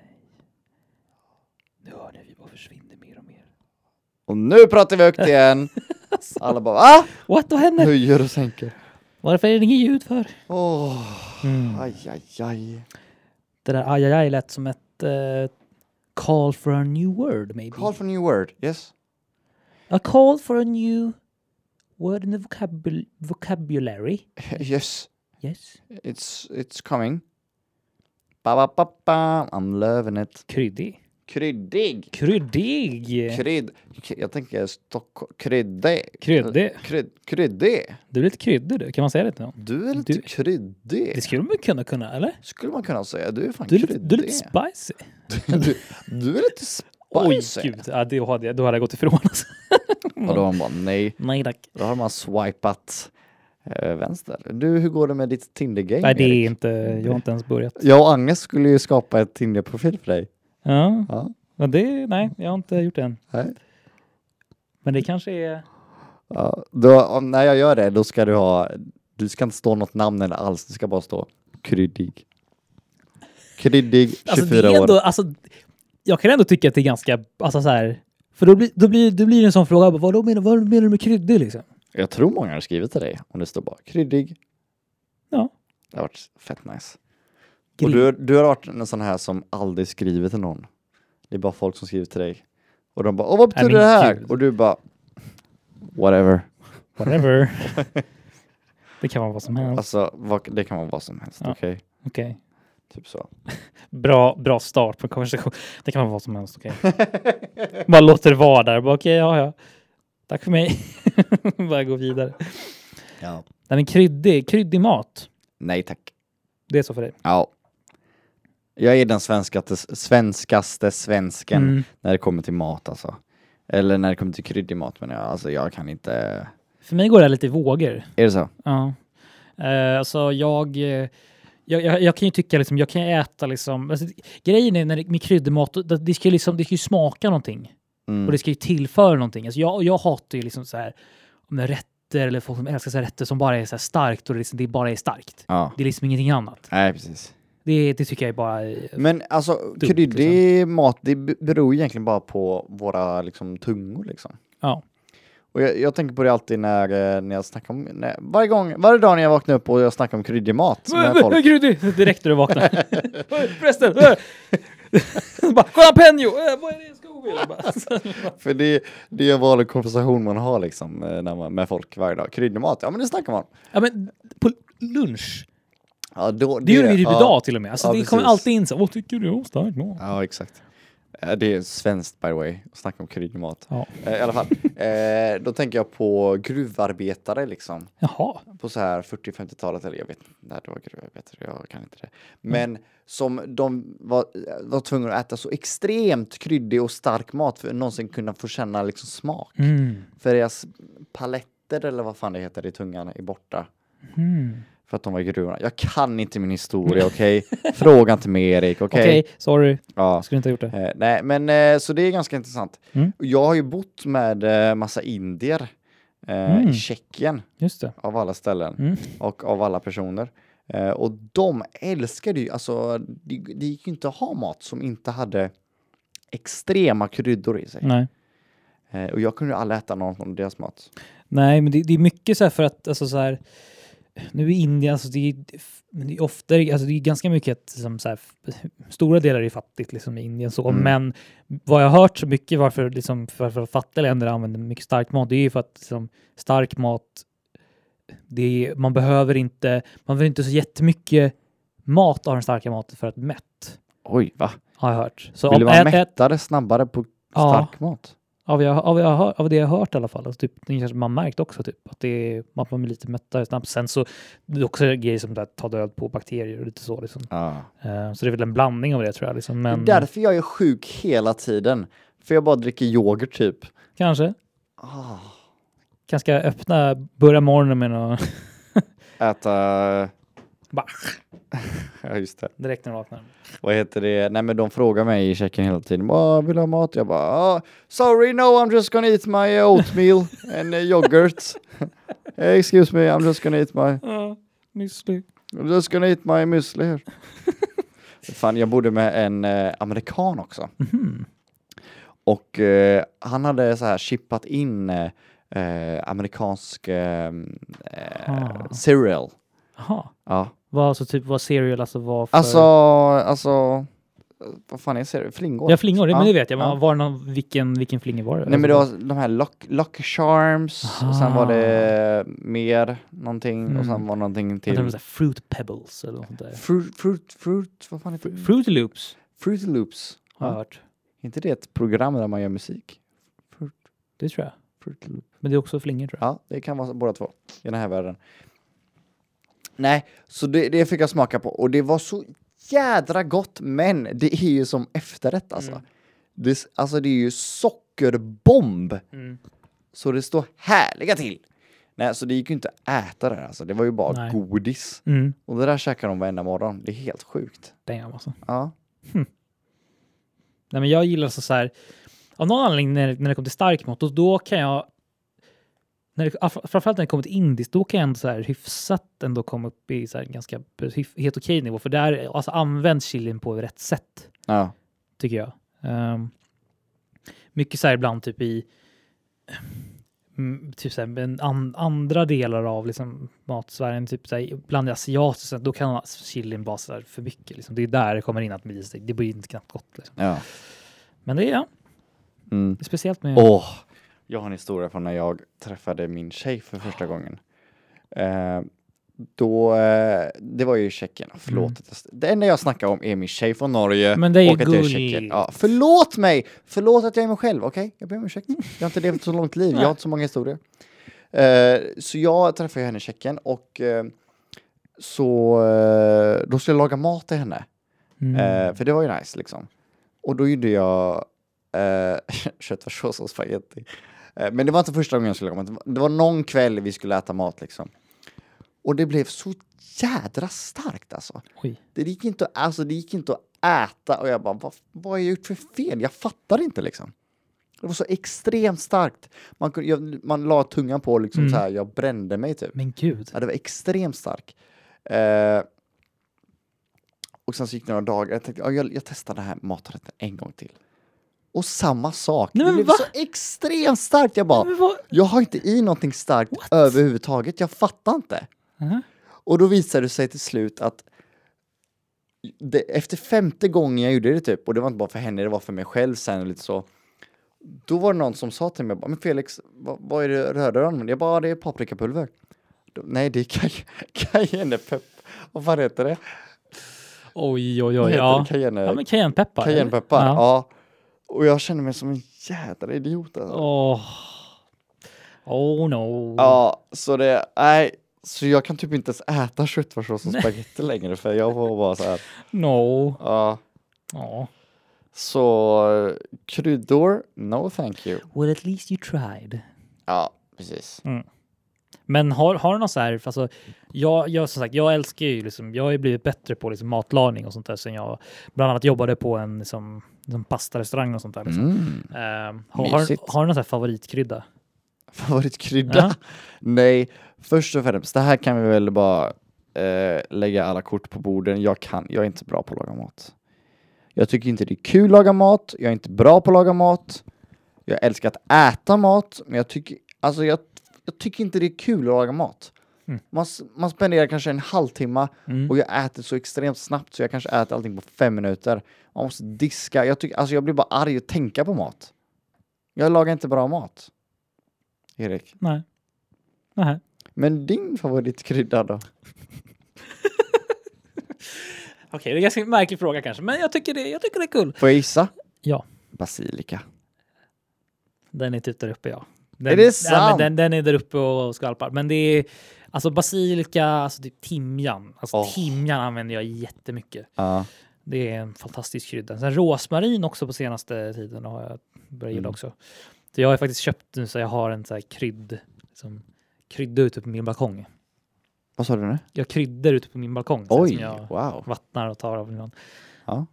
S1: Nu hör ni, vi bara försvinner mer och mer.
S2: Och nu pratar vi högt igen.
S1: Alltså.
S2: Alla bara va?
S1: What, vad händer?
S2: Höjer och sänker.
S1: Varför är det inget ljud för?
S2: Åh,
S1: Mm.
S2: aj, aj, aj.
S1: Det där aj, aj, aj lät som ett eh, call for a new word maybe.
S2: Call for new word, yes.
S1: A call for a new word in the vocabul- vocabulary.
S2: Yes,
S1: Yes.
S2: it's, it's coming. Ba, ba, ba, ba. I'm loving it.
S1: Kryddig.
S2: Kryddig.
S1: Kryddig.
S2: Krydd... k- Jag tänker Stockholm... Krydde.
S1: Kryddig.
S2: Krydd... Krydde.
S1: Du är lite kryddig du, kan man säga det till någon?
S2: Du är lite
S1: Du- Det
S2: kryddig.
S1: skulle man kunna kunna, eller?
S2: Skulle man kunna säga. Du är fan
S1: Du är lite,
S2: kryddig.
S1: du är lite spicy.
S2: du, du är lite
S1: Oj,
S2: spicy.
S1: gud. Ja, det hade, jag- då hade jag gått ifrån. Alltså.
S2: Och då har man bara nej.
S1: Nej tack.
S2: Då har man swipat eh, vänster. Du, hur går det med ditt Tinder-game?
S1: Nej, det är
S2: Erik?
S1: inte, jag har inte ens börjat.
S2: Jag och Agnes skulle ju skapa ett Tinder-profil för dig.
S1: Ja,
S2: Ja.
S1: men det, nej, jag har inte gjort det än.
S2: Nej.
S1: Men det kanske är...
S2: Ja. Då, om, när jag gör det, då ska du ha... Du ska inte stå något namn eller alls. Det ska bara stå kryddig. Kryddig, 24
S1: Alltså, det är
S2: år.
S1: ändå, alltså, jag kan ändå tycka att det är ganska, alltså så här, för då blir, då blir, då blir det en sån fråga, bara, vad, då menar, vad menar du med kryddig liksom?
S2: Jag tror många har skrivit till dig om det står bara kryddig.
S1: Ja.
S2: Det har varit fett nice.
S1: Grill.
S2: Och du, du har varit en sån här som aldrig skriver till någon. Det är bara folk som skriver till dig. Och de bara, åh vad
S1: Nej,
S2: betyder det
S1: men
S2: här?
S1: gud.
S2: Och du bara, whatever.
S1: Whatever. det kan vara vad som helst.
S2: Alltså, vad, det kan vara vad som helst,
S1: Ja.
S2: okej?
S1: Okej.
S2: Typ så.
S1: Bra, bra start på en konversation. Det kan vara vad som helst. okej. Bara låter det vara där. Bara, Okej, ja, ja. Tack för mig. Bara gå vidare.
S2: Ja.
S1: Den är kryddig, kryddig mat.
S2: Nej tack.
S1: Det är så för dig.
S2: Ja. Jag är den svenskaste, svenskaste svensken
S1: Mm.
S2: när det kommer till mat alltså. Eller när det kommer till kryddig mat men jag, alltså jag kan inte...
S1: För mig går det här lite i vågor.
S2: Är det så?
S1: Ja. Eh, alltså jag, eh, jag, jag, jag kan ju tycka liksom, jag kan äta liksom, alltså, grejen är när det, med kryddmat, det, det ska ju liksom, det ska ju smaka någonting
S2: Mm.
S1: och det ska ju tillföra någonting. Alltså jag, jag hatar ju liksom så här, om det är rätt rätter eller folk som älskar så här rätter som bara är så här starkt och det, liksom, det bara är starkt.
S2: Ja.
S1: Det är liksom ingenting annat.
S2: Nej, precis.
S1: Det, det tycker jag är bara...
S2: Men alltså,
S1: Dumt,
S2: kryddig mat, det b- beror egentligen bara på våra liksom, tungor liksom.
S1: Ja.
S2: Och jag, jag tänker på det alltid när, eh, när jag snackar om, när, varje gång, varje dag när jag vaknar upp och jag snackar om kryddig mat med folk.
S1: Kryddig! Direkt när du vaknar. Förresten! äh. bara, kolla penjo! Äh, vad är det i skogen? Bara, så-
S2: För det, det är en vanlig konversation man har liksom eh, när man, med folk varje dag. Kryddig mat, ja men det snackar man om.
S1: ja, men på lunch.
S2: Ja, då,
S1: Det gjorde vi typ
S2: ja.
S1: idag till och med. Alltså,
S2: Ja,
S1: det kommer
S2: precis.
S1: alltid in så här, Vad tycker du om stark mat?
S2: Ja, exakt. Eh, Det är svenskt by the way, att snacka om kryddig mat.
S1: Ja.
S2: Eh, I alla fall, eh, då tänker jag på gruvarbetare liksom.
S1: Jaha.
S2: på så här 40-50-talet, eller jag vet inte när det var gruvarbetare, jag kan
S1: Mm.
S2: inte det. Men som de var, var tvungna att äta så extremt kryddig och stark mat för att någonsin kunna få känna liksom smak.
S1: Mm.
S2: För deras paletter eller vad fan det heter i tungan är borta.
S1: Mm.
S2: För att de var i gruvorna. Jag kan inte min historia, okej? Fråga inte mig Erik, okej?
S1: Okej, sorry.
S2: Ja.
S1: Jag skulle inte ha gjort det.
S2: Eh, nej, men eh, så det är ganska intressant.
S1: Mm.
S2: Jag har ju bott med eh, massa indier eh,
S1: Mm.
S2: i Tjeckien
S1: Just det.
S2: av alla ställen
S1: Mm.
S2: och av alla personer. Eh, och de älskade ju, alltså det, det gick ju inte att ha mat som inte hade extrema kryddor i sig.
S1: Nej. Mm.
S2: Eh, och jag kunde ju aldrig äta någon av deras mat.
S1: Nej, men det, det är mycket så här för att, alltså så här, nu i Indien, alltså det är, men det är ofta, alltså det är ganska mycket att, liksom så här, stora delar är fattigt liksom i Indien så,
S2: Mm.
S1: men vad jag har hört så mycket varför, liksom, varför fattiga länder använder mycket stark mat, det är ju för att liksom, stark mat, det är, man behöver inte, man behöver inte så jättemycket mat av den starka maten för att mätt,
S2: Oj, va?
S1: har jag hört. Så
S2: Ville
S1: om
S2: man
S1: ät- ät-
S2: mättare snabbare på
S1: Ja.
S2: stark mat?
S1: av, jag, av, jag, hör- av det jag har hört i alla fall. Alltså typ, det kanske man märkt också, typ, att, det är, att man blir lite mättare snabbt. Sen så det är också grejer som att ta död på bakterier och lite så. Liksom. Eh, så det är väl en blandning av det tror jag. Liksom. Men
S2: Det är därför jag är sjuk hela tiden. För jag bara dricker yoghurt typ.
S1: kanske.
S2: Ah.
S1: Kanske öppna, börja morgonen med något
S2: Äta...
S1: Bah.
S2: ja, just det.
S1: direkt när man vaknar.
S2: Vad heter det? Nej men de frågar mig i Tjeckien hela tiden. Vad vill du ha mat? Jag bara, ah, sorry no I'm just gonna eat my oatmeal and eh, yoghurt. Eh, Excuse me, I'm just gonna eat my,
S1: Uh,
S2: I'm just gonna eat my müsli here. Fan, jag bodde med en eh, amerikan också.
S1: Mhm.
S2: Och eh, han hade så här chippat in eh, eh, amerikansk eh, eh,
S1: Ah.
S2: cereal.
S1: Jaha.
S2: Ja.
S1: Vad, alltså, typ, vad cereal alltså var för...
S2: Alltså, alltså, vad fan är cereal? Flingor?
S1: ja, flingor, det, men
S2: Ja,
S1: det vet jag. Men
S2: ja.
S1: var det någon, vilken, vilken flinga var det? Alltså,
S2: Nej men det var de här Luck, Lucky Charms, och sen var det mer någonting och sen
S1: Mm.
S2: var någonting
S1: Jag tänkte
S2: till.
S1: så här, fruit pebbles eller något sånt där.
S2: Fruit, fruit, fruit, vad fan heter det?
S1: Fruit loops
S2: Fruity Loops.
S1: har jag
S2: Ja.
S1: hört.
S2: Är inte det ett program där man gör musik? Fruit,
S1: Det tror jag.
S2: fruit loop.
S1: Men det är också flingor tror jag.
S2: Ja, det kan vara båda två i den här världen. Nej, så det, det fick jag smaka på och det var så jädra gott men det är ju som efterrätt alltså.
S1: Mm.
S2: Det, är- alltså det är ju sockerbomb.
S1: Mm.
S2: Så det står härliga till. Nej, så det gick ju inte att äta där alltså. Det var ju bara
S1: Nej.
S2: godis.
S1: Mm.
S2: Och det där käkar de varenda morgon. Det är helt sjukt.
S1: Damn alltså.
S2: Ja.
S1: Nej, men jag gillar så, så här, av någon anledning när, när det kommer till stark mat, då, då kan jag, när det, fr- framförallt när det kommer till indiskt, då kan jag ändå så här hyfsat ändå komma upp i så här ganska hyf, helt okej nivå, för där alltså, används chilin på rätt sätt,
S2: Ja.
S1: tycker jag. Ehm, mycket så här ibland typ i mm, typ så här, men an, andra delar av liksom, matsfären, typ så här, bland det asiatiska, då kan chilin vara så här för mycket. Liksom. Det är där det kommer in att bli, det blir inte knappt gott. Liksom.
S2: Ja.
S1: Men det är ja,
S2: Mm.
S1: det är speciellt med...
S2: Åh! Mm. Jag har en historia från när jag träffade min tjej för första gången. Eh, då, eh, det var ju i Tjeckien. Förlåt. att jag- Det enda jag snackar om är min tjej från Norge
S1: Mm. Men det är ju
S2: och att jag är i
S1: gulligt.
S2: Tjeckien. Ja, förlåt mig! Förlåt att jag är mig själv, okej? Jag ber om ursäkt. Jag har inte levt så långt liv, jag har inte så många historier. Eh, så jag träffade ju henne i Tjeckien och eh, så eh, då skulle jag laga mat till henne.
S1: Mm.
S2: Eh, för det var ju nice liksom. Och då gjorde jag eh, köttfärssås och spagetti. Eh, men det var inte första gången jag skulle komma. Det var- Det var någon kväll vi skulle äta mat liksom. Och det blev så jädra starkt alltså.
S1: Oj.
S2: Det gick inte, att- alltså, det gick inte att äta och jag bara, vad, vad har jag gjort för fel? Jag fattar inte liksom. Det var så extremt starkt. Man, kunde, jag, man la tungan på liksom
S1: Mm.
S2: så här, jag brände mig typ.
S1: Men gud.
S2: Ja, det var extremt stark. Eh, och sen så gick det några dagar, jag tänkte ja, jag, jag testar den här maträtten en gång till. Och samma sak,
S1: Nej,
S2: det
S1: men
S2: blev
S1: va?
S2: så extremt starkt. Jag bara,
S1: Men vad?
S2: jag har inte i någonting starkt
S1: What?
S2: överhuvudtaget, jag fattar inte.
S1: Aha.
S2: Och då visade det sig till slut att det, efter femte gången jag gjorde det typ, och det var inte bara för henne, det var för mig själv sen och lite så. Då var det någon som sa till mig, bara, men Felix, vad, vad är det röda du använder? Jag bara, "Ja, det är paprikapulver. Då, Nej, det är cay- cayennepepp. Vad fan heter det?
S1: Oj, oj,
S2: Vad
S1: oj.
S2: heter
S1: Ja.
S2: det? Cayenne,
S1: ja, men cayennepeppar. eller?
S2: cayennepeppar. Ja.
S1: Ja.
S2: Och jag kände mig som en jädra idiot. Alltså.
S1: Åh. Oh no.
S2: Ja, så det, nej. Så jag kan typ inte ens äta köttfärssås och spagetti längre för jag var bara så här.
S1: No.
S2: Ja.
S1: Ja.
S2: Så eh, kryddor, no thank you.
S1: Well, at least you tried.
S2: Ja, precis.
S1: Men har, har du något så här, för alltså, jag, jag, som sagt, jag älskar ju liksom, jag har ju blivit bättre på liksom matlagning och sånt där sen jag bland annat jobbade på en liksom, liksom pastarestaurang och sånt där. Liksom.
S2: Mm.
S1: Ehm, har, har,
S2: Mysigt.
S1: har du någon så här favoritkrydda?
S2: Favoritkrydda?
S1: Ja.
S2: Nej, först och främst, det här kan vi väl bara eh, lägga alla kort på borden. Jag kan, jag är inte bra på att laga mat. Jag tycker inte det är kul att laga mat, jag är inte bra på att laga mat. Jag älskar att äta mat, men jag tycker, alltså jag, jag tycker inte det är kul att laga mat.
S1: Mm.
S2: Man, s- man spenderar kanske en halvtimme
S1: Mm.
S2: Och jag äter så extremt snabbt så jag kanske äter allting på fem minuter. Man måste diska. Jag, tycker, alltså jag blir bara arg att tänka på mat. Jag lagar inte bra mat. Erik.
S1: Nej. Nej.
S2: Men din favoritkrydda då?
S1: Okej, det är en ganska märklig fråga kanske, men jag tycker det, jag tycker det är kul.
S2: Får jag gissa?
S1: Ja.
S2: Basilika.
S1: Den är typ där uppe, ja. Den,
S2: Är det
S1: Ja, men
S2: sant?
S1: den, den är där uppe och, och skvalpar. Men det är alltså basilika, alltså typ timjan. Alltså
S2: Åh.
S1: timjan använder jag jättemycket.
S2: Ja.
S1: Det är en fantastisk krydda. Sen rosmarin också på senaste tiden har jag börjat gilla
S2: Mm.
S1: också. Så jag har faktiskt köpt nu så jag har en så här krydd, liksom, krydda ute på min balkong.
S2: Vad sa du nu?
S1: Jag kryddar ute på min balkong. så här,
S2: Oj,
S1: Som jag
S2: wow.
S1: vattnar och tar av ibland.
S2: Ja. Mm.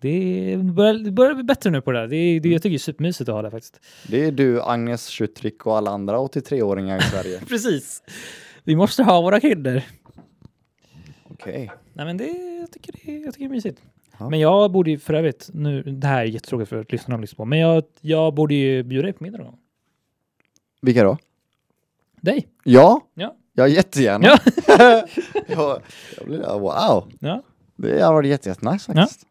S1: Det börjar, det börjar bli bättre nu på det där. Det, är- det, jag tycker det är supermysigt att ha det faktiskt.
S2: Det är du, Agnes Schutrik och alla andra 83-åringar i Sverige.
S1: Precis. Vi måste ha våra kryddor.
S2: Okej.
S1: Nej, men det, jag, tycker det, jag tycker det är mysigt.
S2: Ja.
S1: Men jag borde ju för övrigt, nu, det här är jättetråkigt för lyssnarna att lyssna på, men jag, jag borde ju bjuda dig på middag någon gång.
S2: Vilka då?
S1: Dig.
S2: Ja,
S1: Ja.
S2: jag jättegärna.
S1: Ja.
S2: jag, jag blir, wow.
S1: ja.
S2: Det har varit jätte- jättenice faktiskt.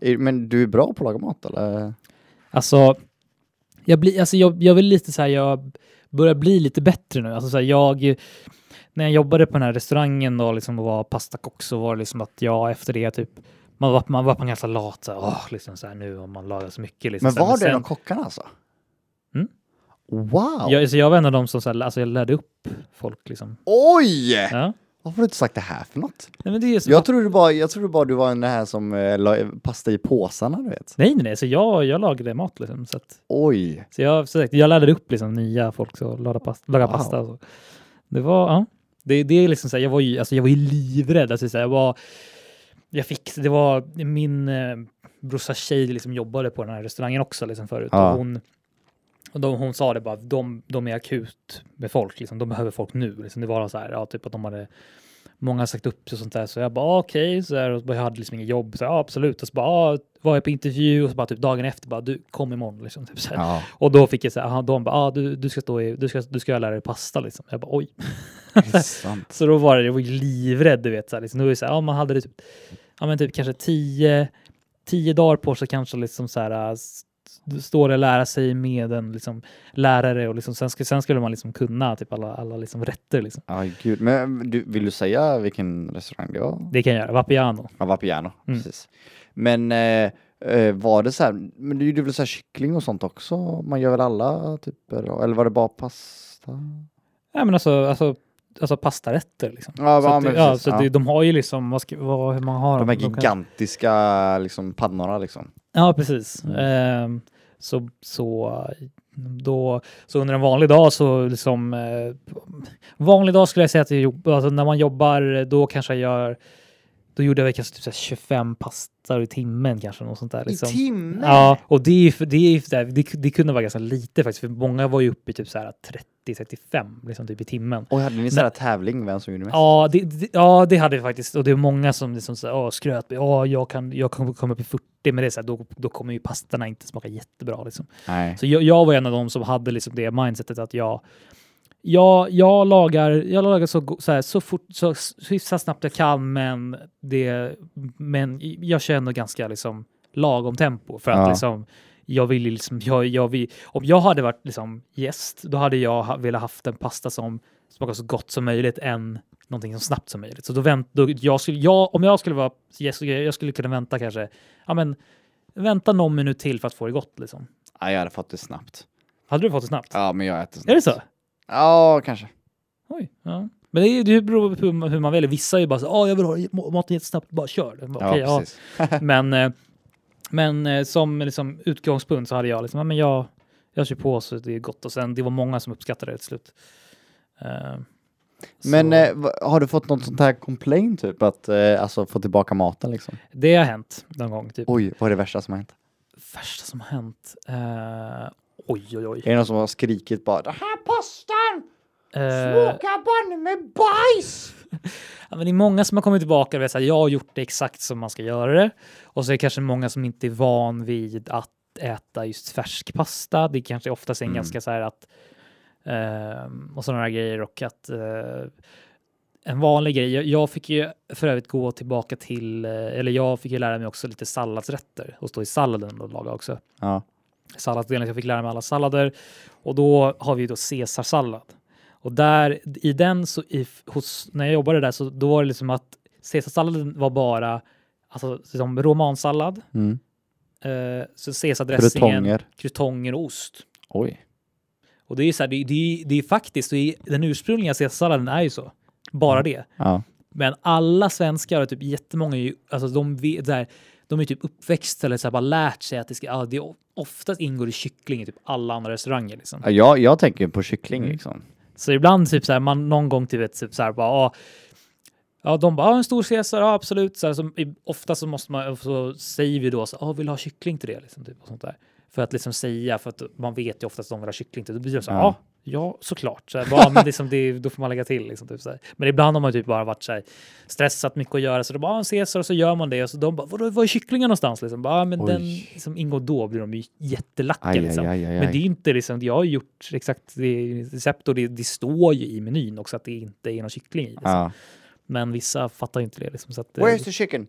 S2: Är- Men du är bra på att laga mat eller?
S1: Alltså, jag, blir, alltså jag, jag vill lite så här, jag börjar bli lite bättre nu. Alltså så här, jag, när jag jobbade på den här restaurangen då, liksom, och var pastakock så var det liksom att jag efter det typ man var, man var på en ganska lat, så här, åh, liksom så här nu om man lagar så mycket. Liksom.
S2: Men
S1: Så här,
S2: var det
S1: sen-
S2: en av kockarna alltså?
S1: Mm.
S2: Wow!
S1: Jag, så jag var en av dem som så här, alltså jag lärde upp folk. Liksom.
S2: Oj!
S1: Ja.
S2: Varför har du inte sagt det här för något?
S1: Nej, men det är ju så
S2: Jag trodde bara, jag trodde bara du var den här som eh, la pasta i påsarna du vet.
S1: Nej, nej, nej. Så jag, jag lagade mat. Liksom, så att,
S2: Oj!
S1: så jag, så sagt, jag lärde upp liksom, nya folk som lagar pasta. Laga
S2: Wow.
S1: pasta och så. Det var... Ja. Det, det är liksom så här, jag, var ju, alltså, jag var ju livrädd. Alltså, så här, jag var, jag fick, det var min eh, brorsas tjej liksom, jobbade på den här restaurangen också liksom, förut.
S2: Ja.
S1: Och hon, och de, hon sa det bara, de, de är akut med folk, liksom. de behöver folk nu. Liksom. Det var så här, ja, typ att de hade många har sagt upp sig och sånt där. Så jag bara ah, okej, så här, och så bara, jag hade liksom inget jobb. Så här, ah, absolut. Och så bara ah, var jag på intervju och så bara typ dagen efter bara du kom imorgon liksom. Typ, så här.
S2: Ja,
S1: Och då fick jag så här, aha, de bara ah, du, du ska stå i, du ska, du ska lära dig pasta liksom. Jag bara oj.
S2: det är sant.
S1: Så då var det, jag var ju livrädd du vet. Så här, liksom. Då var det så här, ja man hade det typ, ja men typ kanske tio, tio dagar på sig kanske liksom så här s- stå där och lära sig med en liksom, lärare och liksom, sen, skulle, sen skulle man liksom kunna typ alla, alla liksom, rätter. Liksom.
S2: Aj, gud. Men eh, du, vill du säga vilken restaurang det var?
S1: Det kan jag göra, Vapiano.
S2: Ja, Vapiano,
S1: Mm.
S2: precis. Men eh, eh, var det så här, men det gjorde väl så här kyckling och sånt också? Man gör väl alla typer? av- Eller var det bara pasta?
S1: Ja, men alltså, alltså, alltså pastarätter. Liksom.
S2: Ja,
S1: så
S2: ja,
S1: att,
S2: men
S1: det- ja,
S2: precis,
S1: så
S2: ja.
S1: Det, de har ju liksom, vad ska, vad, hur man har
S2: De
S1: dem,
S2: här
S1: de kan-
S2: gigantiska liksom, pannorna liksom.
S1: Ja, precis.
S2: Mm.
S1: Ehm, så, så, då, så under en vanlig dag så liksom... Eh, vanlig dag skulle jag säga att jag jobb, alltså när man jobbar, då kanske jag gör Då gjorde jag väl kanske typ så här 25 pastar i timmen kanske. Något sånt där, liksom.
S2: I timmen?
S1: Ja, och det, är ju för- det, är ju för- det, det kunde vara ganska lite faktiskt, för många var ju uppe i typ så här 30-35 liksom typ i timmen.
S2: Och hade ni sån här tävling vem som gjorde mest?
S1: Ja det, det, ja, det hade vi faktiskt. Och det är många som liksom så här, "Åh, skröt. Ja, jag kan, jag kan komma upp i 40, men det är så här, då, då kommer ju pastorna inte smaka jättebra. Liksom.
S2: Nej.
S1: Så jag, jag var en av dem som hade liksom det mindsetet att jag, jag, jag lagar, jag lagar så, go- så, här, så, fort, så, så hyfsat snabbt jag kan, men, det, men jag känner ganska liksom lagom tempo. För att
S2: Ja.
S1: liksom, jag vill ju liksom, jag, jag vill, om jag hade varit liksom gäst, då hade jag ha, velat haft en pasta som smakar så gott som möjligt än någonting så snabbt som möjligt. Så då vänt, då, jag skulle, jag, om jag skulle vara gäst, så jag jag skulle kunna vänta kanske, ja men vänta någon minut till för att få det gott liksom.
S2: Ja, jag hade fått det snabbt.
S1: Hade du fått det snabbt?
S2: Ja, men jag äter snabbt.
S1: Är det så?
S2: Ja, kanske.
S1: Oj. Ja. Men det, är, det beror på hur man- hur man väljer. Vissa är ju bara så "Ah, jag vill ha ma- maten jättesnabbt, bara kör. Jag bara, "Okej,
S2: ja,
S1: ja."
S2: precis.
S1: Men, eh, men eh, som liksom, utgångspunkt så hade jag liksom, "Ja, men jag, jag kör på så det är gott. Och sen det var många som uppskattade det till slut. Eh, så
S2: Men eh, va- har du fått något sånt här complaint typ? Att eh, alltså få tillbaka maten liksom?
S1: det har hänt någon gång. Typ.
S2: Oj, vad är det värsta som har hänt?
S1: Värsta som har hänt. Eh, oj, oj, oj.
S2: Är det någon som har skrikit bara Den här pastan
S1: Eh,
S2: smakar banne med bajs!
S1: Ja, men det är många som har kommit tillbaka och vet att jag har gjort det exakt som man ska göra det. Och så är det kanske många som inte är van vid att äta just färsk pasta. Det kanske oftast är en
S2: Mm.
S1: ganska så här att... ehm, och sådana här grejer och att... eh, en vanlig grej, jag, jag fick ju för övrigt gå tillbaka till, eh, eller jag fick ju lära mig också lite salladsrätter och stå i salladen och laga också
S2: Ja.
S1: salladsdelen. så Jag fick lära mig alla sallader och då har vi då caesarsallad. Och där i den så i, hos, när jag jobbade där så då var det liksom att caesarsalladen var bara alltså liksom romansallad,
S2: Mm.
S1: eh, så caesardressingen,
S2: Krutonger.
S1: krutonger och ost.
S2: Oj.
S1: Och det är ju så här, det, det, det är faktiskt, det är, den ursprungliga caesarsalladen är ju så, bara det.
S2: Ja.
S1: Men alla svenskar, och typ jättemånga, är ju, alltså de, vet, så här, de är typ uppväxta eller så här, bara lärt sig att det ska, ja, det är, oftast ingår i kyckling i typ alla andra restauranger. Liksom.
S2: Ja, Jag, jag tänker ju på kyckling
S1: Mm.
S2: liksom.
S1: Så ibland typ så här, man någon gång typ, typ så här bara, ja, ja de bara, ja, en stor caesar, ja absolut. Så här, så, i- ofta så måste man, så säger vi då så, ja vill du ha kyckling till det? Liksom, typ, och sånt där. För att liksom säga, för att man vet ju oftast att de vill ha kyckling till det. Då blir det så här,
S2: Ja.
S1: ja. Ja, såklart. Så här, bara, men liksom det, då får man lägga till. Liksom, typ, så här. Men ibland har man typ bara varit så här, stressat mycket att göra, så de bara, ja, en caesar, och så gör man det. Och så de bara, vadå, var är kycklingen någonstans? Liksom, bara, ja, men
S2: Oj.
S1: den som ingår då blir de ju jättelacka.
S2: Aj,
S1: liksom.
S2: aj, aj, aj,
S1: Men det är
S2: aj.
S1: inte liksom, jag har gjort exakt det recept och det, det står ju i menyn också att det inte är någon kyckling i. Liksom.
S2: Ja.
S1: Men vissa fattar ju inte det. Liksom, så att, eh,
S2: Where's the chicken?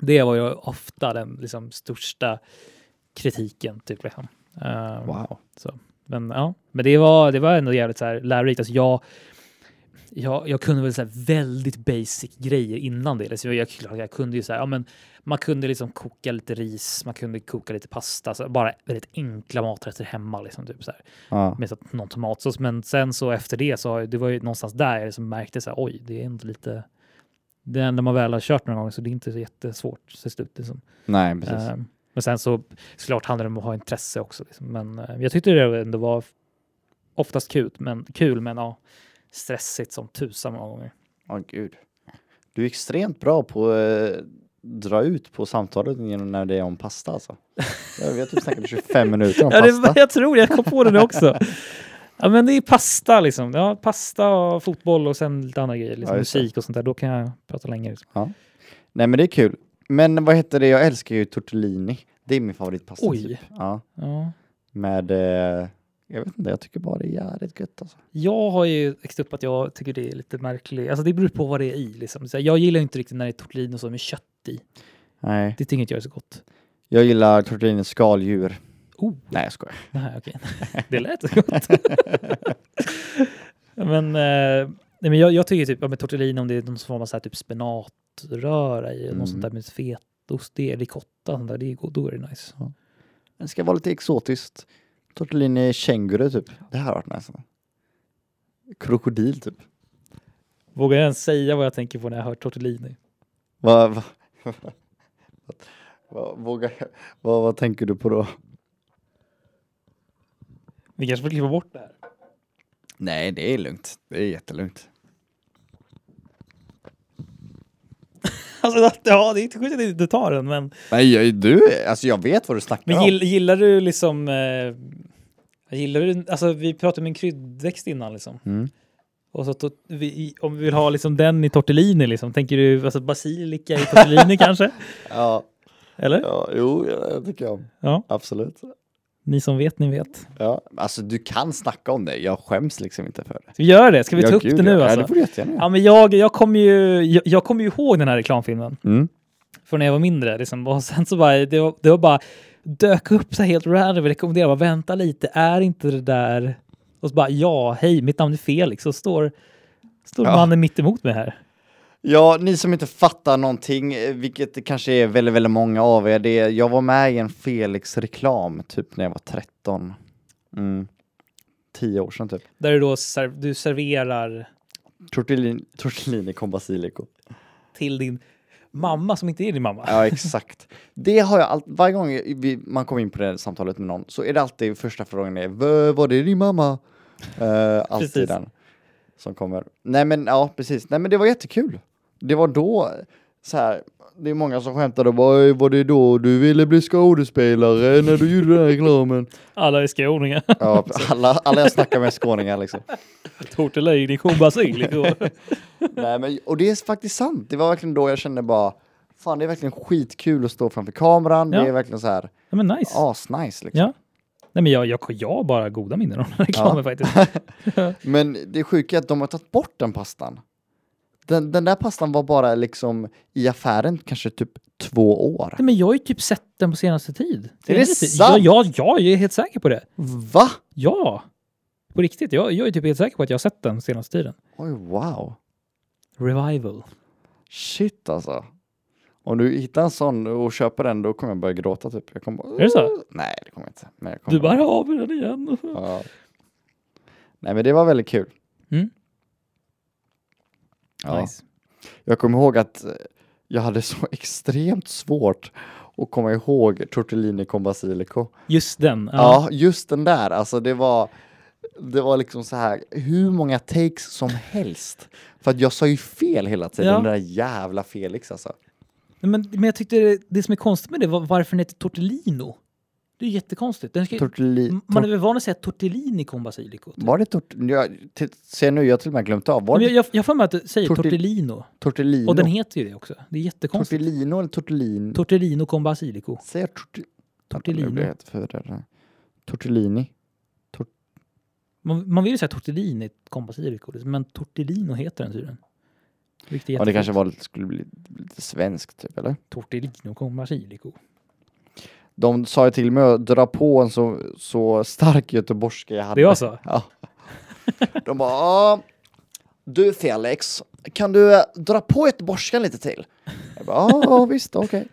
S1: det var ju ofta den liksom, största kritiken. Typ, liksom. Eh,
S2: Wow.
S1: men, ja. men det var, det var ändå jävligt så här, lärorikt. Alltså, jag, jag, jag kunde väl så här väldigt basic grejer innan det. Alltså, jag, jag, klart jag kunde ju så här, ja, men man kunde liksom koka lite ris, man kunde koka lite pasta, så bara väldigt enkla maträtter hemma. Liksom, typ, så här
S2: Ja.
S1: med så att någon tomatsås. Men sen så efter det så har- det var ju någonstans där jag liksom märkte så här, oj, det är ändå lite. Det är när man väl har kört några gånger så det är inte så jättesvårt till slut. Liksom.
S2: Nej, precis.
S1: Eh, men sen så såklart handlar det om att ha intresse också. Liksom. Men eh, jag tyckte det ändå var oftast kul, men kul, men ja, stressigt som tusan många gånger.
S2: Åh gud. Du är extremt bra på att eh, dra ut på samtalet genom när det är om pasta alltså. Jag vet typ snackat i 25 minuter om
S1: Ja,
S2: pasta.
S1: det, jag tror det. Jag kom på det nu också. Ja, men det är pasta liksom. Ja, pasta och fotboll och sen lite andra grejer. Liksom
S2: Ja, just det.
S1: musik och sånt där. Då kan jag prata längre. Liksom.
S2: Nej men det är kul. Men vad heter det, jag älskar ju tortellini. Det är min favoritpasta.
S1: Oj.
S2: Typ. Ja.
S1: Ja.
S2: Med, eh, jag vet inte, jag tycker bara det är jävligt gött alltså.
S1: Jag har ju växt upp att jag tycker det är lite märkligt. Alltså det beror på vad det är i. Liksom. Så här, jag gillar inte riktigt när det är tortellini och så med kött i.
S2: Nej.
S1: Det tycker inte jag är så gott.
S2: Jag gillar tortellini skaldjur.
S1: Oh,
S2: Nej jag skojar.
S1: nej, okej. Det lät så gott. men eh, nej, men jag, jag tycker typ, ja, med tortellini om det är någon form av så här, typ spenatröra i, mm.
S2: Mm.
S1: något sånt där med fetaost, det är ricotta, sånt där, det är, go- då är det nice.
S2: Det ska vara lite exotiskt. Tortellini känguru typ. Det här har varit nice. Krokodil typ.
S1: Vågar jag ens säga vad jag tänker på när jag hör tortellini?
S2: Vad va, va, vågar jag- vad- vad tänker du på då?
S1: Vi kanske får klippa bort det här.
S2: Nej, det är lugnt. Det är jättelugnt.
S1: Alltså, att- ja, det är inte sjukt att du inte tar den, men,
S2: Nej, jag, du, alltså jag vet vad du snackar
S1: men
S2: om.
S1: gill, gillar du liksom... Eh, gillar du, alltså, vi pratade om en kryddväxt innan. Liksom.
S2: Mm.
S1: Och så, att vi, i- om vi vill ha liksom, den i tortellini, liksom, tänker du alltså, basilika i tortellini kanske?
S2: Ja,
S1: Eller?
S2: ja, jo, det tycker jag om.
S1: Ja.
S2: Absolut.
S1: Ni som vet, ni vet.
S2: Ja. Alltså du kan snacka om det, jag skäms liksom inte för det.
S1: Ska vi göra det? Ska vi ta
S2: Ja,
S1: upp
S2: gud,
S1: det nu?
S2: ja.
S1: alltså?
S2: Ja, det får du jättegärna göra.
S1: Ja, men jag, jag kommer ju jag, jag kommer ju ihåg den här reklamfilmen
S2: Mm.
S1: från när jag var mindre. Liksom. Och sen så bara, det var, det var bara dök upp så här helt random och rekommenderade bara vänta lite, är inte det där? Och så bara ja, hej, mitt namn är Felix och står, står
S2: Ja.
S1: mannen mitt emot mig här.
S2: Ja, ni som inte fattar någonting, eh, vilket det kanske är väldigt, väldigt många av er, det är, jag var med i en Felix-reklam typ när jag var 13. Mm. Tio år sedan typ.
S1: Där du då ser, du serverar
S2: Tortellini, tortellini con basilico.
S1: till din mamma som inte är din mamma.
S2: Ja, exakt. Det har jag alltid, varje gång vi, man kommer in på det här samtalet med någon så är det alltid första frågan är "Vö, var det din mamma? Eh, alltid
S1: Precis.
S2: den som kommer. Nej men ja, precis. Nej men det var jättekul. Det var då så här, det är många som skämtar och bara "Oj, var det då du ville bli skådespelare när du gjorde den här reklamen?
S1: Alla är skåningar.
S2: Ja, alla, alla jag snackar med är skåningar liksom.
S1: Tortellini con basilico.
S2: Nej, men, och det är faktiskt sant. Det var verkligen då jag kände bara, fan det är verkligen skitkul att stå framför kameran.
S1: Ja.
S2: Det är verkligen så här,
S1: ja, men nice.
S2: asnice liksom.
S1: Ja. Nej, men jag, jag, jag har bara goda minnen av den här reklamen faktiskt.
S2: Men det sjuka är att de har tagit bort den pastan. Den, den där pastan var bara liksom i affären kanske typ två år.
S1: Nej, men jag har ju typ sett den på senaste tid.
S2: det
S1: Senaste tid.
S2: sant?
S1: Ja, ja, jag är helt säker på det.
S2: Va?
S1: Ja, på riktigt. Jag, jag är typ helt säker på att jag har sett den senaste tiden.
S2: Oj, wow.
S1: Revival.
S2: Shit alltså. Om du hittar en sån och köper den då kommer jag börja gråta typ. Jag kommer bara,
S1: Är det så?
S2: Nej, det kommer jag inte. Men jag kommer
S1: Du bara av med den igen.
S2: Ja. Nej, men det var väldigt kul.
S1: Mm.
S2: Ja.
S1: Nice.
S2: Jag kommer ihåg att eh, jag hade så extremt svårt att komma ihåg tortellini con basilico.
S1: Just den. Ja.
S2: Ja, just den där. Alltså det var, det var liksom så här hur många takes som helst. För att jag sa ju fel hela tiden,
S1: Ja.
S2: den där jävla Felix alltså.
S1: Nej, Men, men jag tyckte det, det som är konstigt med det var varför den heter tortellino. Det är ju jättekonstigt. Den ska,
S2: Tortelli...
S1: m- man är
S2: Tor-
S1: väl van att säga tortellini con basilico. Typ.
S2: var det tort... Jag, t- se nu, jag har till och med glömt av. Var
S1: Men
S2: det
S1: jag- jag jag har för mig att det säger
S2: Torte-
S1: tortellino.
S2: tortellino?
S1: Och den heter ju det också. Det är jättekonstigt.
S2: tortellino eller tortellin?
S1: Tortellino con basilico.
S2: Säger jag torti...
S1: Tortellino.
S2: Nu blir jag helt förvirrad. Tortellini.
S1: Man, man vill ju säga tortellini con basilico, liksom, men tortellino heter den tydligen. Vilket är
S2: Ja, det
S1: jättefint.
S2: kanske var lite, skulle bli lite svenskt typ, eller?
S1: Tortellino con basilico.
S2: De sa ju till mig att dra på en så, så stark göteborgska jag hade.
S1: Det jag sa?
S2: Ja. De bara, "Ja, du Felix, kan du eh, dra på göteborgskan lite till? Jag bara, "Ja, ja visst, okej.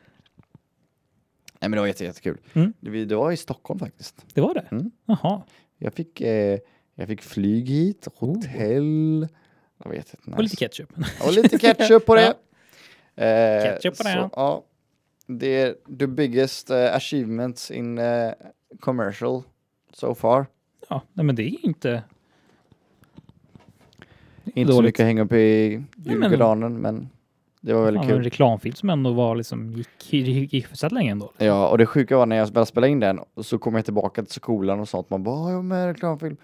S2: Nej men det var jätte, jättekul.
S1: Mm.
S2: Det, vi- det var i Stockholm faktiskt.
S1: Det var det?
S2: Mm.
S1: Jaha.
S2: Jag fick, eh, jag fick flyg hit, hotell. Det var jätte, jätte
S1: Oh. Och lite ketchup.
S2: och lite ketchup på det. Eh,
S1: Ketchup på det, ja.
S2: Så, ja. Det är the biggest eh, achievements in eh, commercial so far.
S1: Ja, nej, men det är inte...
S2: Inte så
S1: Dåligt.
S2: mycket att hänga upp i
S1: Nej, men-
S2: julgranen, men det var väldigt
S1: Fan, en
S2: kul.
S1: reklamfilm som ändå var liksom, gick, gick, gick hyfsat länge ändå.
S2: Ja, och det sjuka var när jag väl spelade in den och så kom jag tillbaka till skolan och sånt. Man bara, "Ah, jag var med i en reklamfilm.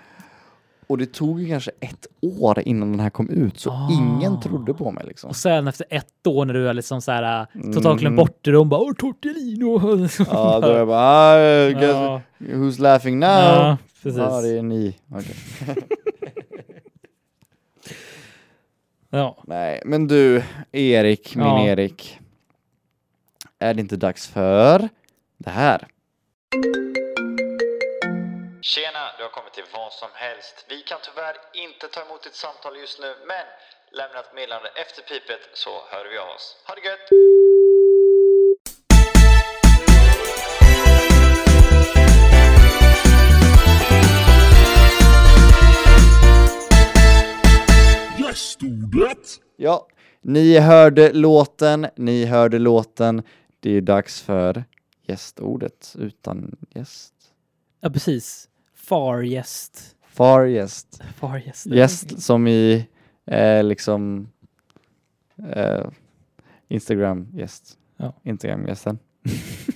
S2: Och det tog ju kanske ett år innan den här kom ut, så
S1: Ah.
S2: ingen trodde på mig liksom.
S1: Och sen efter ett år när du är liksom så här, äh, totalt glömt
S2: Mm.
S1: bort det, de bara "Åh, tortellino.
S2: Ja, då jag bara, "Ah, I guess,
S1: ja,
S2: who's laughing now?
S1: ja, precis.
S2: Ja, det är ni. Okej.
S1: Ja.
S2: Nej, men du, Erik, min
S1: Ja.
S2: Erik. Är det inte dags för det här?
S3: Tjena, du har kommit till vad som helst. Vi kan tyvärr inte ta emot ditt samtal just nu, men lämna ett meddelande efter pipet så hör vi av oss. Ha det gött!
S2: Ja, ni hörde låten, ni hörde låten. Det är dags för gästordet utan gäst.
S1: ja, precis. Fargäst.
S2: Far gäst.
S1: Fargäst.
S2: Gäst som i eh, liksom eh, Instagram-gäst.
S1: Ja.
S2: Instagram-gästen.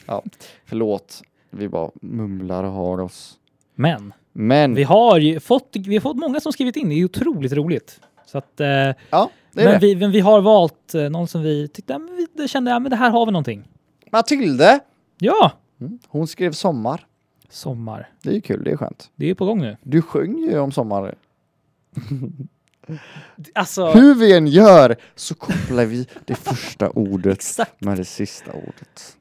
S2: ja, förlåt. Vi bara mumlar och har oss.
S1: Men
S2: Men,
S1: vi har ju fått, vi har fått många som skrivit in. Det är otroligt roligt. Så att, eh,
S2: ja, det
S1: men,
S2: är det.
S1: vi, men vi har valt eh, någon som vi tyckte, ja, men vi det kände, ja men det här har vi någonting.
S2: Matilde!
S1: Ja!
S2: Mm. Hon skrev sommar.
S1: Sommar.
S2: Det är ju kul, det är skönt.
S1: Det är ju på gång nu.
S2: Du sjöng ju om sommar.
S1: Alltså,
S2: Hur vi än gör så kopplar vi det första ordet
S1: exakt.
S2: med det sista ordet.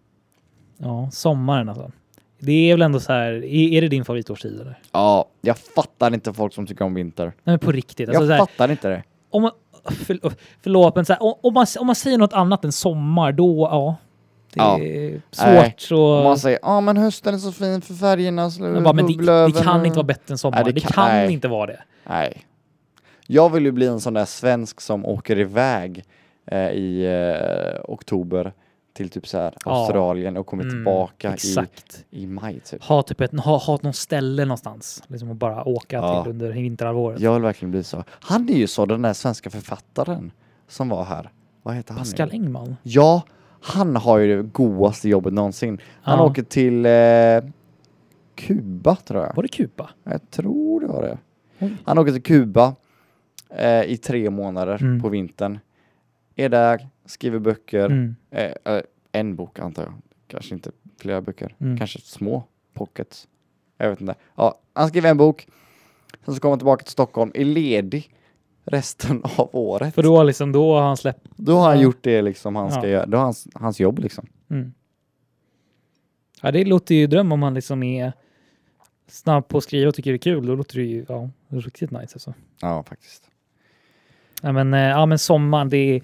S1: Ja, sommaren alltså. Det är väl ändå så här, är, är det din favoritårstid eller? Nej
S2: Ja, jag fattar inte folk som tycker om vinter.
S1: men på riktigt. Alltså,
S2: Jag
S1: så här,
S2: fattar inte det.
S1: om man, förl- oh, förlåt, men så här, om, om, man, om man säger något annat än sommar, då ja. Det
S2: Ja.
S1: är
S2: Nej.
S1: svårt så...
S2: Om man säger ja men hösten är så fin för färgerna. Så
S1: Men bara, men det, det
S2: bubblöven."
S1: kan inte vara bättre än sommar.
S2: Nej,
S1: det,
S2: det
S1: kan,
S2: kan- nej.
S1: inte vara det.
S2: Nej. Jag vill ju bli en sån där svensk som åker iväg eh, i eh, oktober till typ så här
S1: Ja.
S2: Australien och kommer
S1: Mm,
S2: tillbaka i,
S1: Exakt.
S2: i maj typ.
S1: Ha typ ett, ha, ha någon ställe någonstans. Liksom och bara åka
S2: Ja.
S1: till under vinterhalvåret.
S2: Jag vill verkligen bli så. Han är ju så den där svenska författaren som var här. Vad heter han? nu?
S1: Pascal Engman.
S2: Ja, han har ju det godaste jobbet någonsin. Han
S1: Ja.
S2: åker till eh, Kuba tror jag.
S1: Var det Kuba?
S2: Jag tror det var det.
S1: Oj.
S2: Han åker till Kuba eh, i tre månader
S1: Mm.
S2: på vintern. Är där, skriver böcker.
S1: Mm.
S2: Eh, eh, en bok antar jag. Kanske inte flera böcker.
S1: Mm.
S2: Kanske små pockets. Jag vet inte. Ja, han skriver en bok. Sen så kommer han tillbaka till Stockholm, är ledig resten av året.
S1: För då, liksom, då har han släppt...
S2: Då har han
S1: Ja.
S2: gjort det liksom han ska
S1: Ja.
S2: göra. Då har hans, hans jobb liksom.
S1: Mm. Ja, det låter ju dröm om han liksom är snabb på att skriva och tycker det är kul. Då låter det ju ja, riktigt nice. Alltså.
S2: Ja, faktiskt.
S1: Ja, men, eh, ja, men sommaren, det är,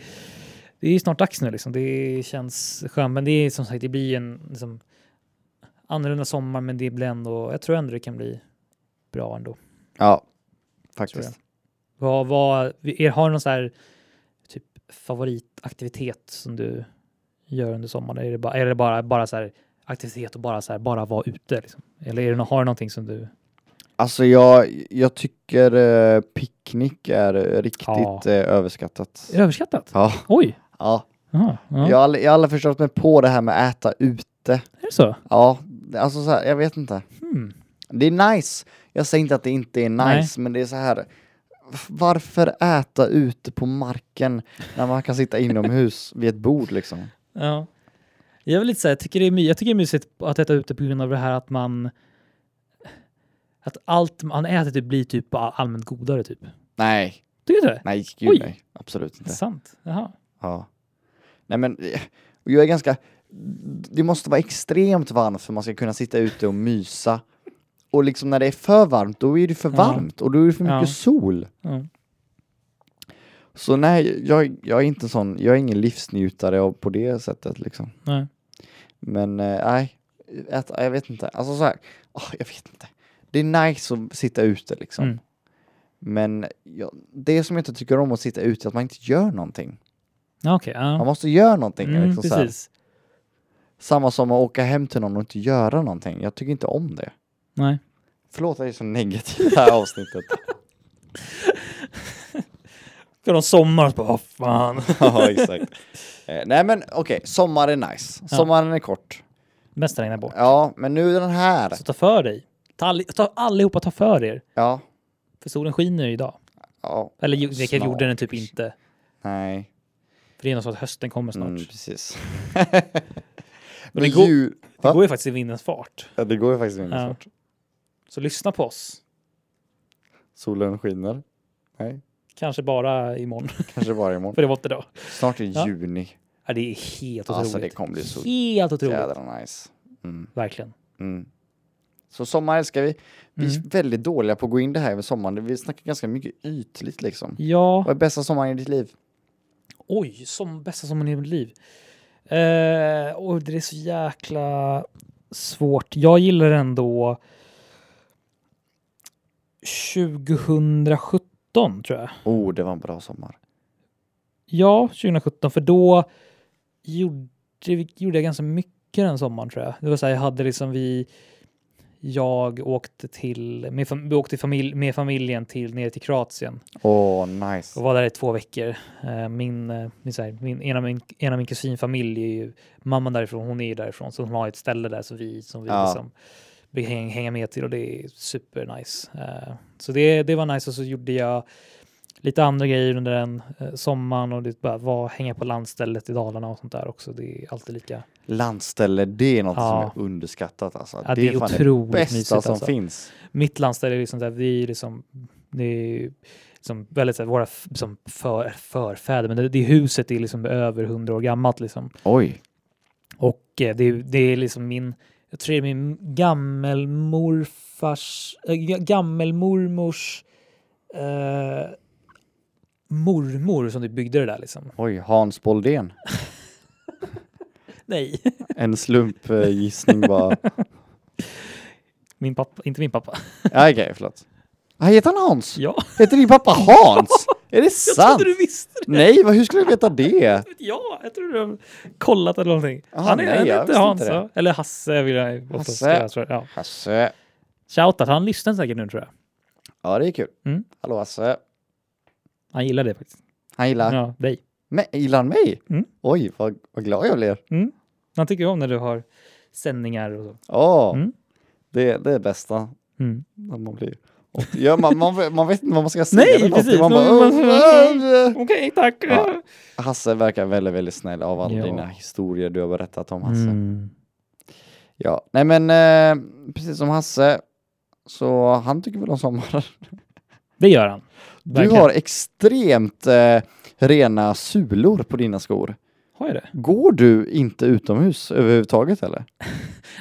S1: det är ju snart dags nu. Liksom. Det känns skönt, men det är som sagt, det blir en liksom, annorlunda sommar, men det blir ändå, jag tror ändå det kan bli bra ändå.
S2: Ja,
S1: Tror
S2: faktiskt.
S1: Vad, vad, er, har du någon så här typ, favoritaktivitet som du gör under sommaren? Är det bara, är det bara, bara så här, aktivitet och bara, så här, bara vara ute? Liksom? Eller är det, nå- har du någonting som du...
S2: Alltså jag, jag tycker eh, picknick är eh, riktigt
S1: Ja.
S2: eh, överskattat.
S1: Är det överskattat?
S2: Ja,
S1: Oj!
S2: ja.
S1: Jaha, ja.
S2: Jag har aldrig, jag har aldrig förstått mig på det här med äta ute.
S1: Är det så?
S2: Ja, alltså så här, jag vet inte.
S1: Hmm.
S2: Det är nice. Jag säger inte att det inte är nice,
S1: Nej.
S2: men det är så här. Varför äta ute på marken när man kan sitta inomhus vid ett bord liksom?
S1: Ja. Jag vill lite säga, jag tycker det är, my- jag tycker det är mysigt att äta ute på grund av det här att man... Att allt man äter typ blir typ bara allmänt godare typ.
S2: Nej,
S1: Tycker du det?
S2: nej, gud
S1: Oj.
S2: nej. Absolut inte.
S1: Sant. Jaha.
S2: Ja. Nej men, eh, och jag är ganska... Det måste vara extremt varmt för man ska kunna sitta ute och mysa. Och liksom när det är för varmt, då är det för
S1: Ja.
S2: varmt och då är det för mycket
S1: Ja.
S2: sol.
S1: Mm.
S2: Så nej, jag, jag är inte sån, jag är ingen livsnjutare av- på det sättet liksom.
S1: Nej.
S2: Men eh, nej, äta, jag vet inte. Alltså så här, åh, jag vet inte. Det är nice att sitta ute liksom.
S1: Mm.
S2: Men jag, det som jag inte tycker om att sitta ute är att man inte gör någonting.
S1: Ja, Okej.
S2: Man
S1: ja.
S2: måste göra någonting.
S1: Mm,
S2: liksom, så här.
S1: precis.
S2: Samma som att åka hem till någon och inte göra någonting. Jag tycker inte om det.
S1: Nej.
S2: Förlåt att jag är så negativ i det här avsnittet.
S1: Ska de sommar och så bara, "Åh, fan.
S2: ja, exakt. Eh, nej men okej, sommar är nice.
S1: Ja.
S2: Sommaren är kort.
S1: Bäst regna bort.
S2: Ja, men nu är den här.
S1: Så ta för dig. Ta, all, ta allihopa ta för er.
S2: Ja,
S1: För solen skiner ju idag.
S2: ja,
S1: Eller ju- det
S2: Snart.
S1: gjorde den typ inte.
S2: nej.
S1: För det är något så att hösten kommer snart.
S2: Mm, precis.
S1: det går-
S2: ju-
S1: Det
S2: Va?
S1: går ju faktiskt i vindens fart.
S2: Ja, det går ju faktiskt in
S1: Ja.
S2: snart.
S1: Så lyssna på oss.
S2: Solen skiner. Nej,
S1: Kanske bara imorgon.
S2: kanske bara imorgon.
S1: För det var inte idag.
S2: Snart i
S1: Ja.
S2: juni.
S1: Ja, det är helt otroligt.
S2: Alltså, det kommer bli så
S1: Helt otroligt.
S2: Jädra nice. Mm,
S1: Verkligen.
S2: mm. Så sommar älskar vi. Vi är
S1: Mm.
S2: väldigt dåliga på att gå in det här med sommaren. Vi snackar ganska mycket ytligt liksom.
S1: Ja,
S2: Vad är bästa sommaren i ditt liv?
S1: oj, som bästa sommaren i mitt liv. Eh, och det är så jäkla svårt. Jag gillar ändå 2017 tror jag.
S2: Oh, det var en bra sommar.
S1: Ja, 2017, för då gjorde, gjorde jag ganska mycket den sommaren tror jag. Det var så här, jag hade liksom vi Jag åkte till, med, fam- vi åkte till familj, med familjen till, ner till Kroatien
S2: Åh,
S1: och
S2: nice.
S1: var där i två veckor. Eh, Min, eh, min, så här, min, ena, min, ena min kusinfamilj är ju mamman därifrån, hon är ju därifrån, så hon har ett ställe där som vi, som vi
S2: Ja.
S1: liksom vi häng, hänga med till och det är supernice. Eh, Så det, det var nice och så gjorde jag lite andra grejer under den eh, sommaren och det bara var hänga på landstället i Dalarna och sånt där också. Det är alltid lika.
S2: Landställe, det är något
S1: Ja.
S2: som är underskattat alltså.
S1: Ja,
S2: det,
S1: det
S2: är
S1: är
S2: fan
S1: otroligt
S2: det bästa
S1: mysigt,
S2: som
S1: alltså.
S2: finns.
S1: Mitt landställe är liksom där vi är liksom, det är ju liksom väldigt så här, våra f- som för, förfäder, men det, det huset är liksom över hundra år gammalt liksom.
S2: Oj.
S1: Och eh, det, är- det är liksom min, jag tror det är min gammelmorfars, äh, gammelmormors eh, mormor som du byggde det där liksom.
S2: Oj, Hans Boldén.
S1: Nej,
S2: En slumpgissning bara.
S1: min pappa, inte min pappa.
S2: Ja, Okej, förlåt. Ah, heter han Hans?
S1: Ja,
S2: Heter din pappa Hans? Är det
S1: jag
S2: sant?
S1: trodde du visste det.
S2: Nej, vad, hur skulle du veta det?
S1: Ja, jag trodde du har kollat eller någonting.
S2: Ah,
S1: han är,
S2: nej,
S1: han
S2: jag
S1: heter
S2: visste
S1: Hans,
S2: inte det.
S1: ja. eller Hasse vill jag också
S2: Hasse.
S1: säga. tror jag. Ja.
S2: Hasse.
S1: Shoutout, han lyssnar säkert nu tror jag.
S2: Ja, det är kul.
S1: Mm.
S2: Hallå Hasse.
S1: Han gillar det faktiskt.
S2: Han gillar,
S1: Ja, dig.
S2: men, gillar han mig?
S1: Mm.
S2: Oj, vad, vad glad jag blir.
S1: Mm. Han tycker om när du har sändningar och så.
S2: Åh,
S1: Mm.
S2: det, det är bästa
S1: Mm.
S2: när man blir... Och- Ja, man, man, man vet inte vad man ska säga.
S1: Nej,
S2: eller något.
S1: precis.
S2: Man bara,
S1: Man-
S2: "Åh, åh, åh."
S1: Okej, tack.
S2: Ja. Hasse verkar väldigt, väldigt snäll av alla
S1: Ja.
S2: dina historier du har berättat om Hasse.
S1: Mm.
S2: Ja, nej men eh, precis som Hasse, så han tycker väl om sommaren.
S1: Det gör han.
S2: Du
S1: Verkligen.
S2: har extremt eh, rena sulor på dina skor.
S1: Har jag det?
S2: Går du inte utomhus överhuvudtaget eller?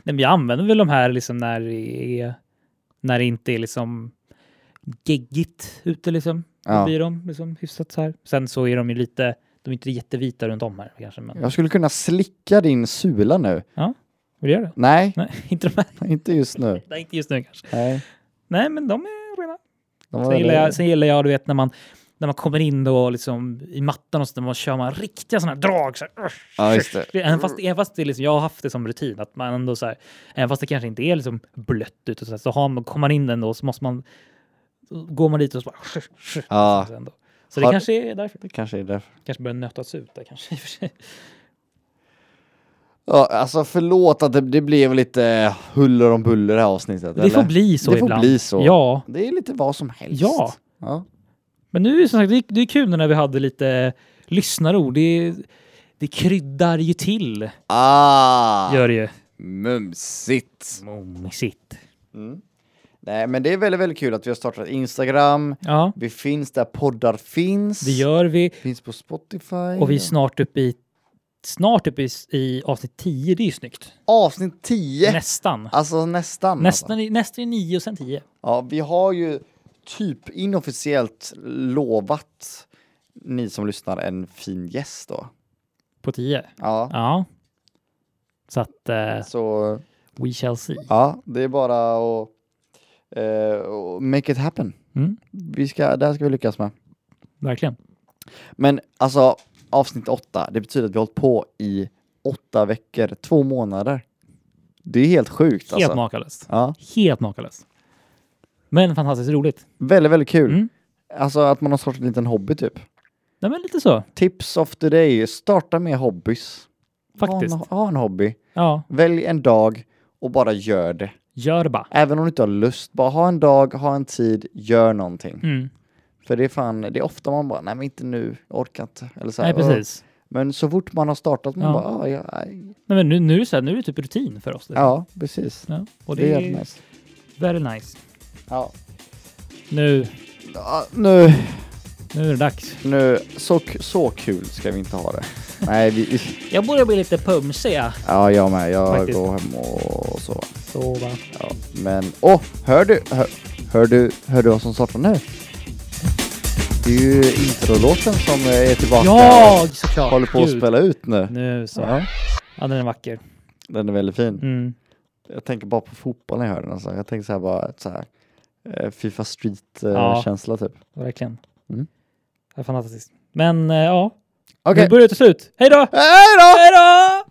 S1: Nej, men jag använder väl de här liksom när det, är, när det inte är liksom geggigt ute. Liksom. Då
S2: Ja.
S1: blir de liksom hyfsat så här. Sen så är de ju lite, de är inte jättevita runt om här kanske. Men
S2: Jag skulle kunna slicka din sula nu.
S1: vill du göra det?
S2: Nej,
S1: Nej, inte de här.
S2: inte just nu.
S1: Nej, inte just nu kanske.
S2: Nej.
S1: Nej, men de är rena.
S2: De
S1: Sen
S2: var
S1: gillar jag,
S2: väldigt-
S1: sen gillar jag du vet, när man när man kommer in då liksom i mattan och så där, man kör man riktiga sådana här drag. Så här,
S2: Ja, just det.
S1: Även fast, även fast det är liksom, jag har haft det som rutin, att man ändå så här, även fast det kanske inte är liksom blött ut och så, här, så har man, kommer man in ändå och så måste man, så går man dit och så bara...
S2: Ja.
S1: Så, ändå. så det
S2: Ah. Har-
S1: kanske är därför.
S2: Det kanske är därför.
S1: kanske börjar nötas ut där kanske. i och för sig.
S2: Ja, alltså förlåt att det, det blev lite huller om buller det här avsnittet.
S1: Det får
S2: eller?
S1: bli så
S2: Det får
S1: ibland.
S2: bli så.
S1: Ja,
S2: Det är lite vad som helst.
S1: Ja.
S2: ja.
S1: men nu är det som sagt, det är, det är kul när vi hade lite lyssnarord. Det, det kryddar ju till,
S2: Ah,
S1: gör det ju.
S2: mumsigt.
S1: Momsigt.
S2: Nej, men det är väldigt, väldigt kul att vi har startat Instagram.
S1: Ja,
S2: Vi finns där poddar finns.
S1: det gör vi.
S2: Finns på Spotify.
S1: Och vi är snart uppe i, snart uppe i, i avsnitt 10, det är ju snyggt.
S2: Avsnitt 10.
S1: Nästan.
S2: Alltså nästan.
S1: Nästan,
S2: Alltså.
S1: i- nästan är 9 och sen 10.
S2: Ja, vi har ju typ inofficiellt lovat ni som lyssnar en fin gäst då.
S1: På 10.
S2: Ja,
S1: Ja. Så att eh,
S2: så
S1: we shall see.
S2: ja, det är bara att eh, make it happen.
S1: Mm,
S2: Vi ska, det här ska vi lyckas med.
S1: verkligen.
S2: Men alltså, avsnitt åtta, det betyder att vi har hållit på i åtta veckor, två månader. Det är helt sjukt
S1: Helt
S2: alltså.
S1: makalöst.
S2: Ja,
S1: Helt makalöst. Men fantastiskt roligt.
S2: väldigt, väldigt kul.
S1: Mm.
S2: Alltså att man har startat en liten hobby typ.
S1: Nej men lite så.
S2: Tips of the day, starta med hobbys.
S1: Faktiskt.
S2: Ha en, ha en hobby.
S1: Ja,
S2: Välj en dag och bara gör det.
S1: gör det bara.
S2: Även om du inte har lust, bara ha en dag, ha en tid, gör någonting.
S1: Mm.
S2: För det är fan, det är ofta man bara, nej men inte nu, jag orkar inte. Eller så här,
S1: Nej precis.
S2: "Åh." Men så fort man har startat, man
S1: Ja.
S2: bara, "Ah, ja, aj."
S1: Nej, men nu, nu, är det så här, nu är det typ rutin för oss.
S2: ja, precis.
S1: Ja, och
S2: Det är
S1: är
S2: helt nice.
S1: very nice.
S2: Ja.
S1: Nu,
S2: Ja, nu,
S1: nu är det dags.
S2: nu, så, k- så kul ska vi inte ha det. Nej, vi,
S1: Jag börjar bli lite pumsig. ja.
S2: ja, jag med. Jag
S1: Faktiskt.
S2: går hem och så.
S1: Sova.
S2: Ja, men, åh, hör du, hör, hör du, hör du vad som startar nu? Det är ju introlåten som eh, är tillbaka
S1: Ja,
S2: och
S1: såklart.
S2: håller på att
S1: Gud.
S2: spela ut nu.
S1: Nu så. Ja.
S2: Ja,
S1: den är vacker.
S2: den är väldigt fin.
S1: Mm.
S2: Jag tänker bara på fotboll när jag hör den. Alltså. Jag tänker så här bara, så här, eh, Fifa
S1: Ja.
S2: Street-känsla typ.
S1: Verkligen.
S2: Mm.
S1: Det är fantastiskt. Men eh, ja,
S2: Okej,
S1: nu börjar det ta slut. Hej då!
S2: hej då!
S1: Hej då!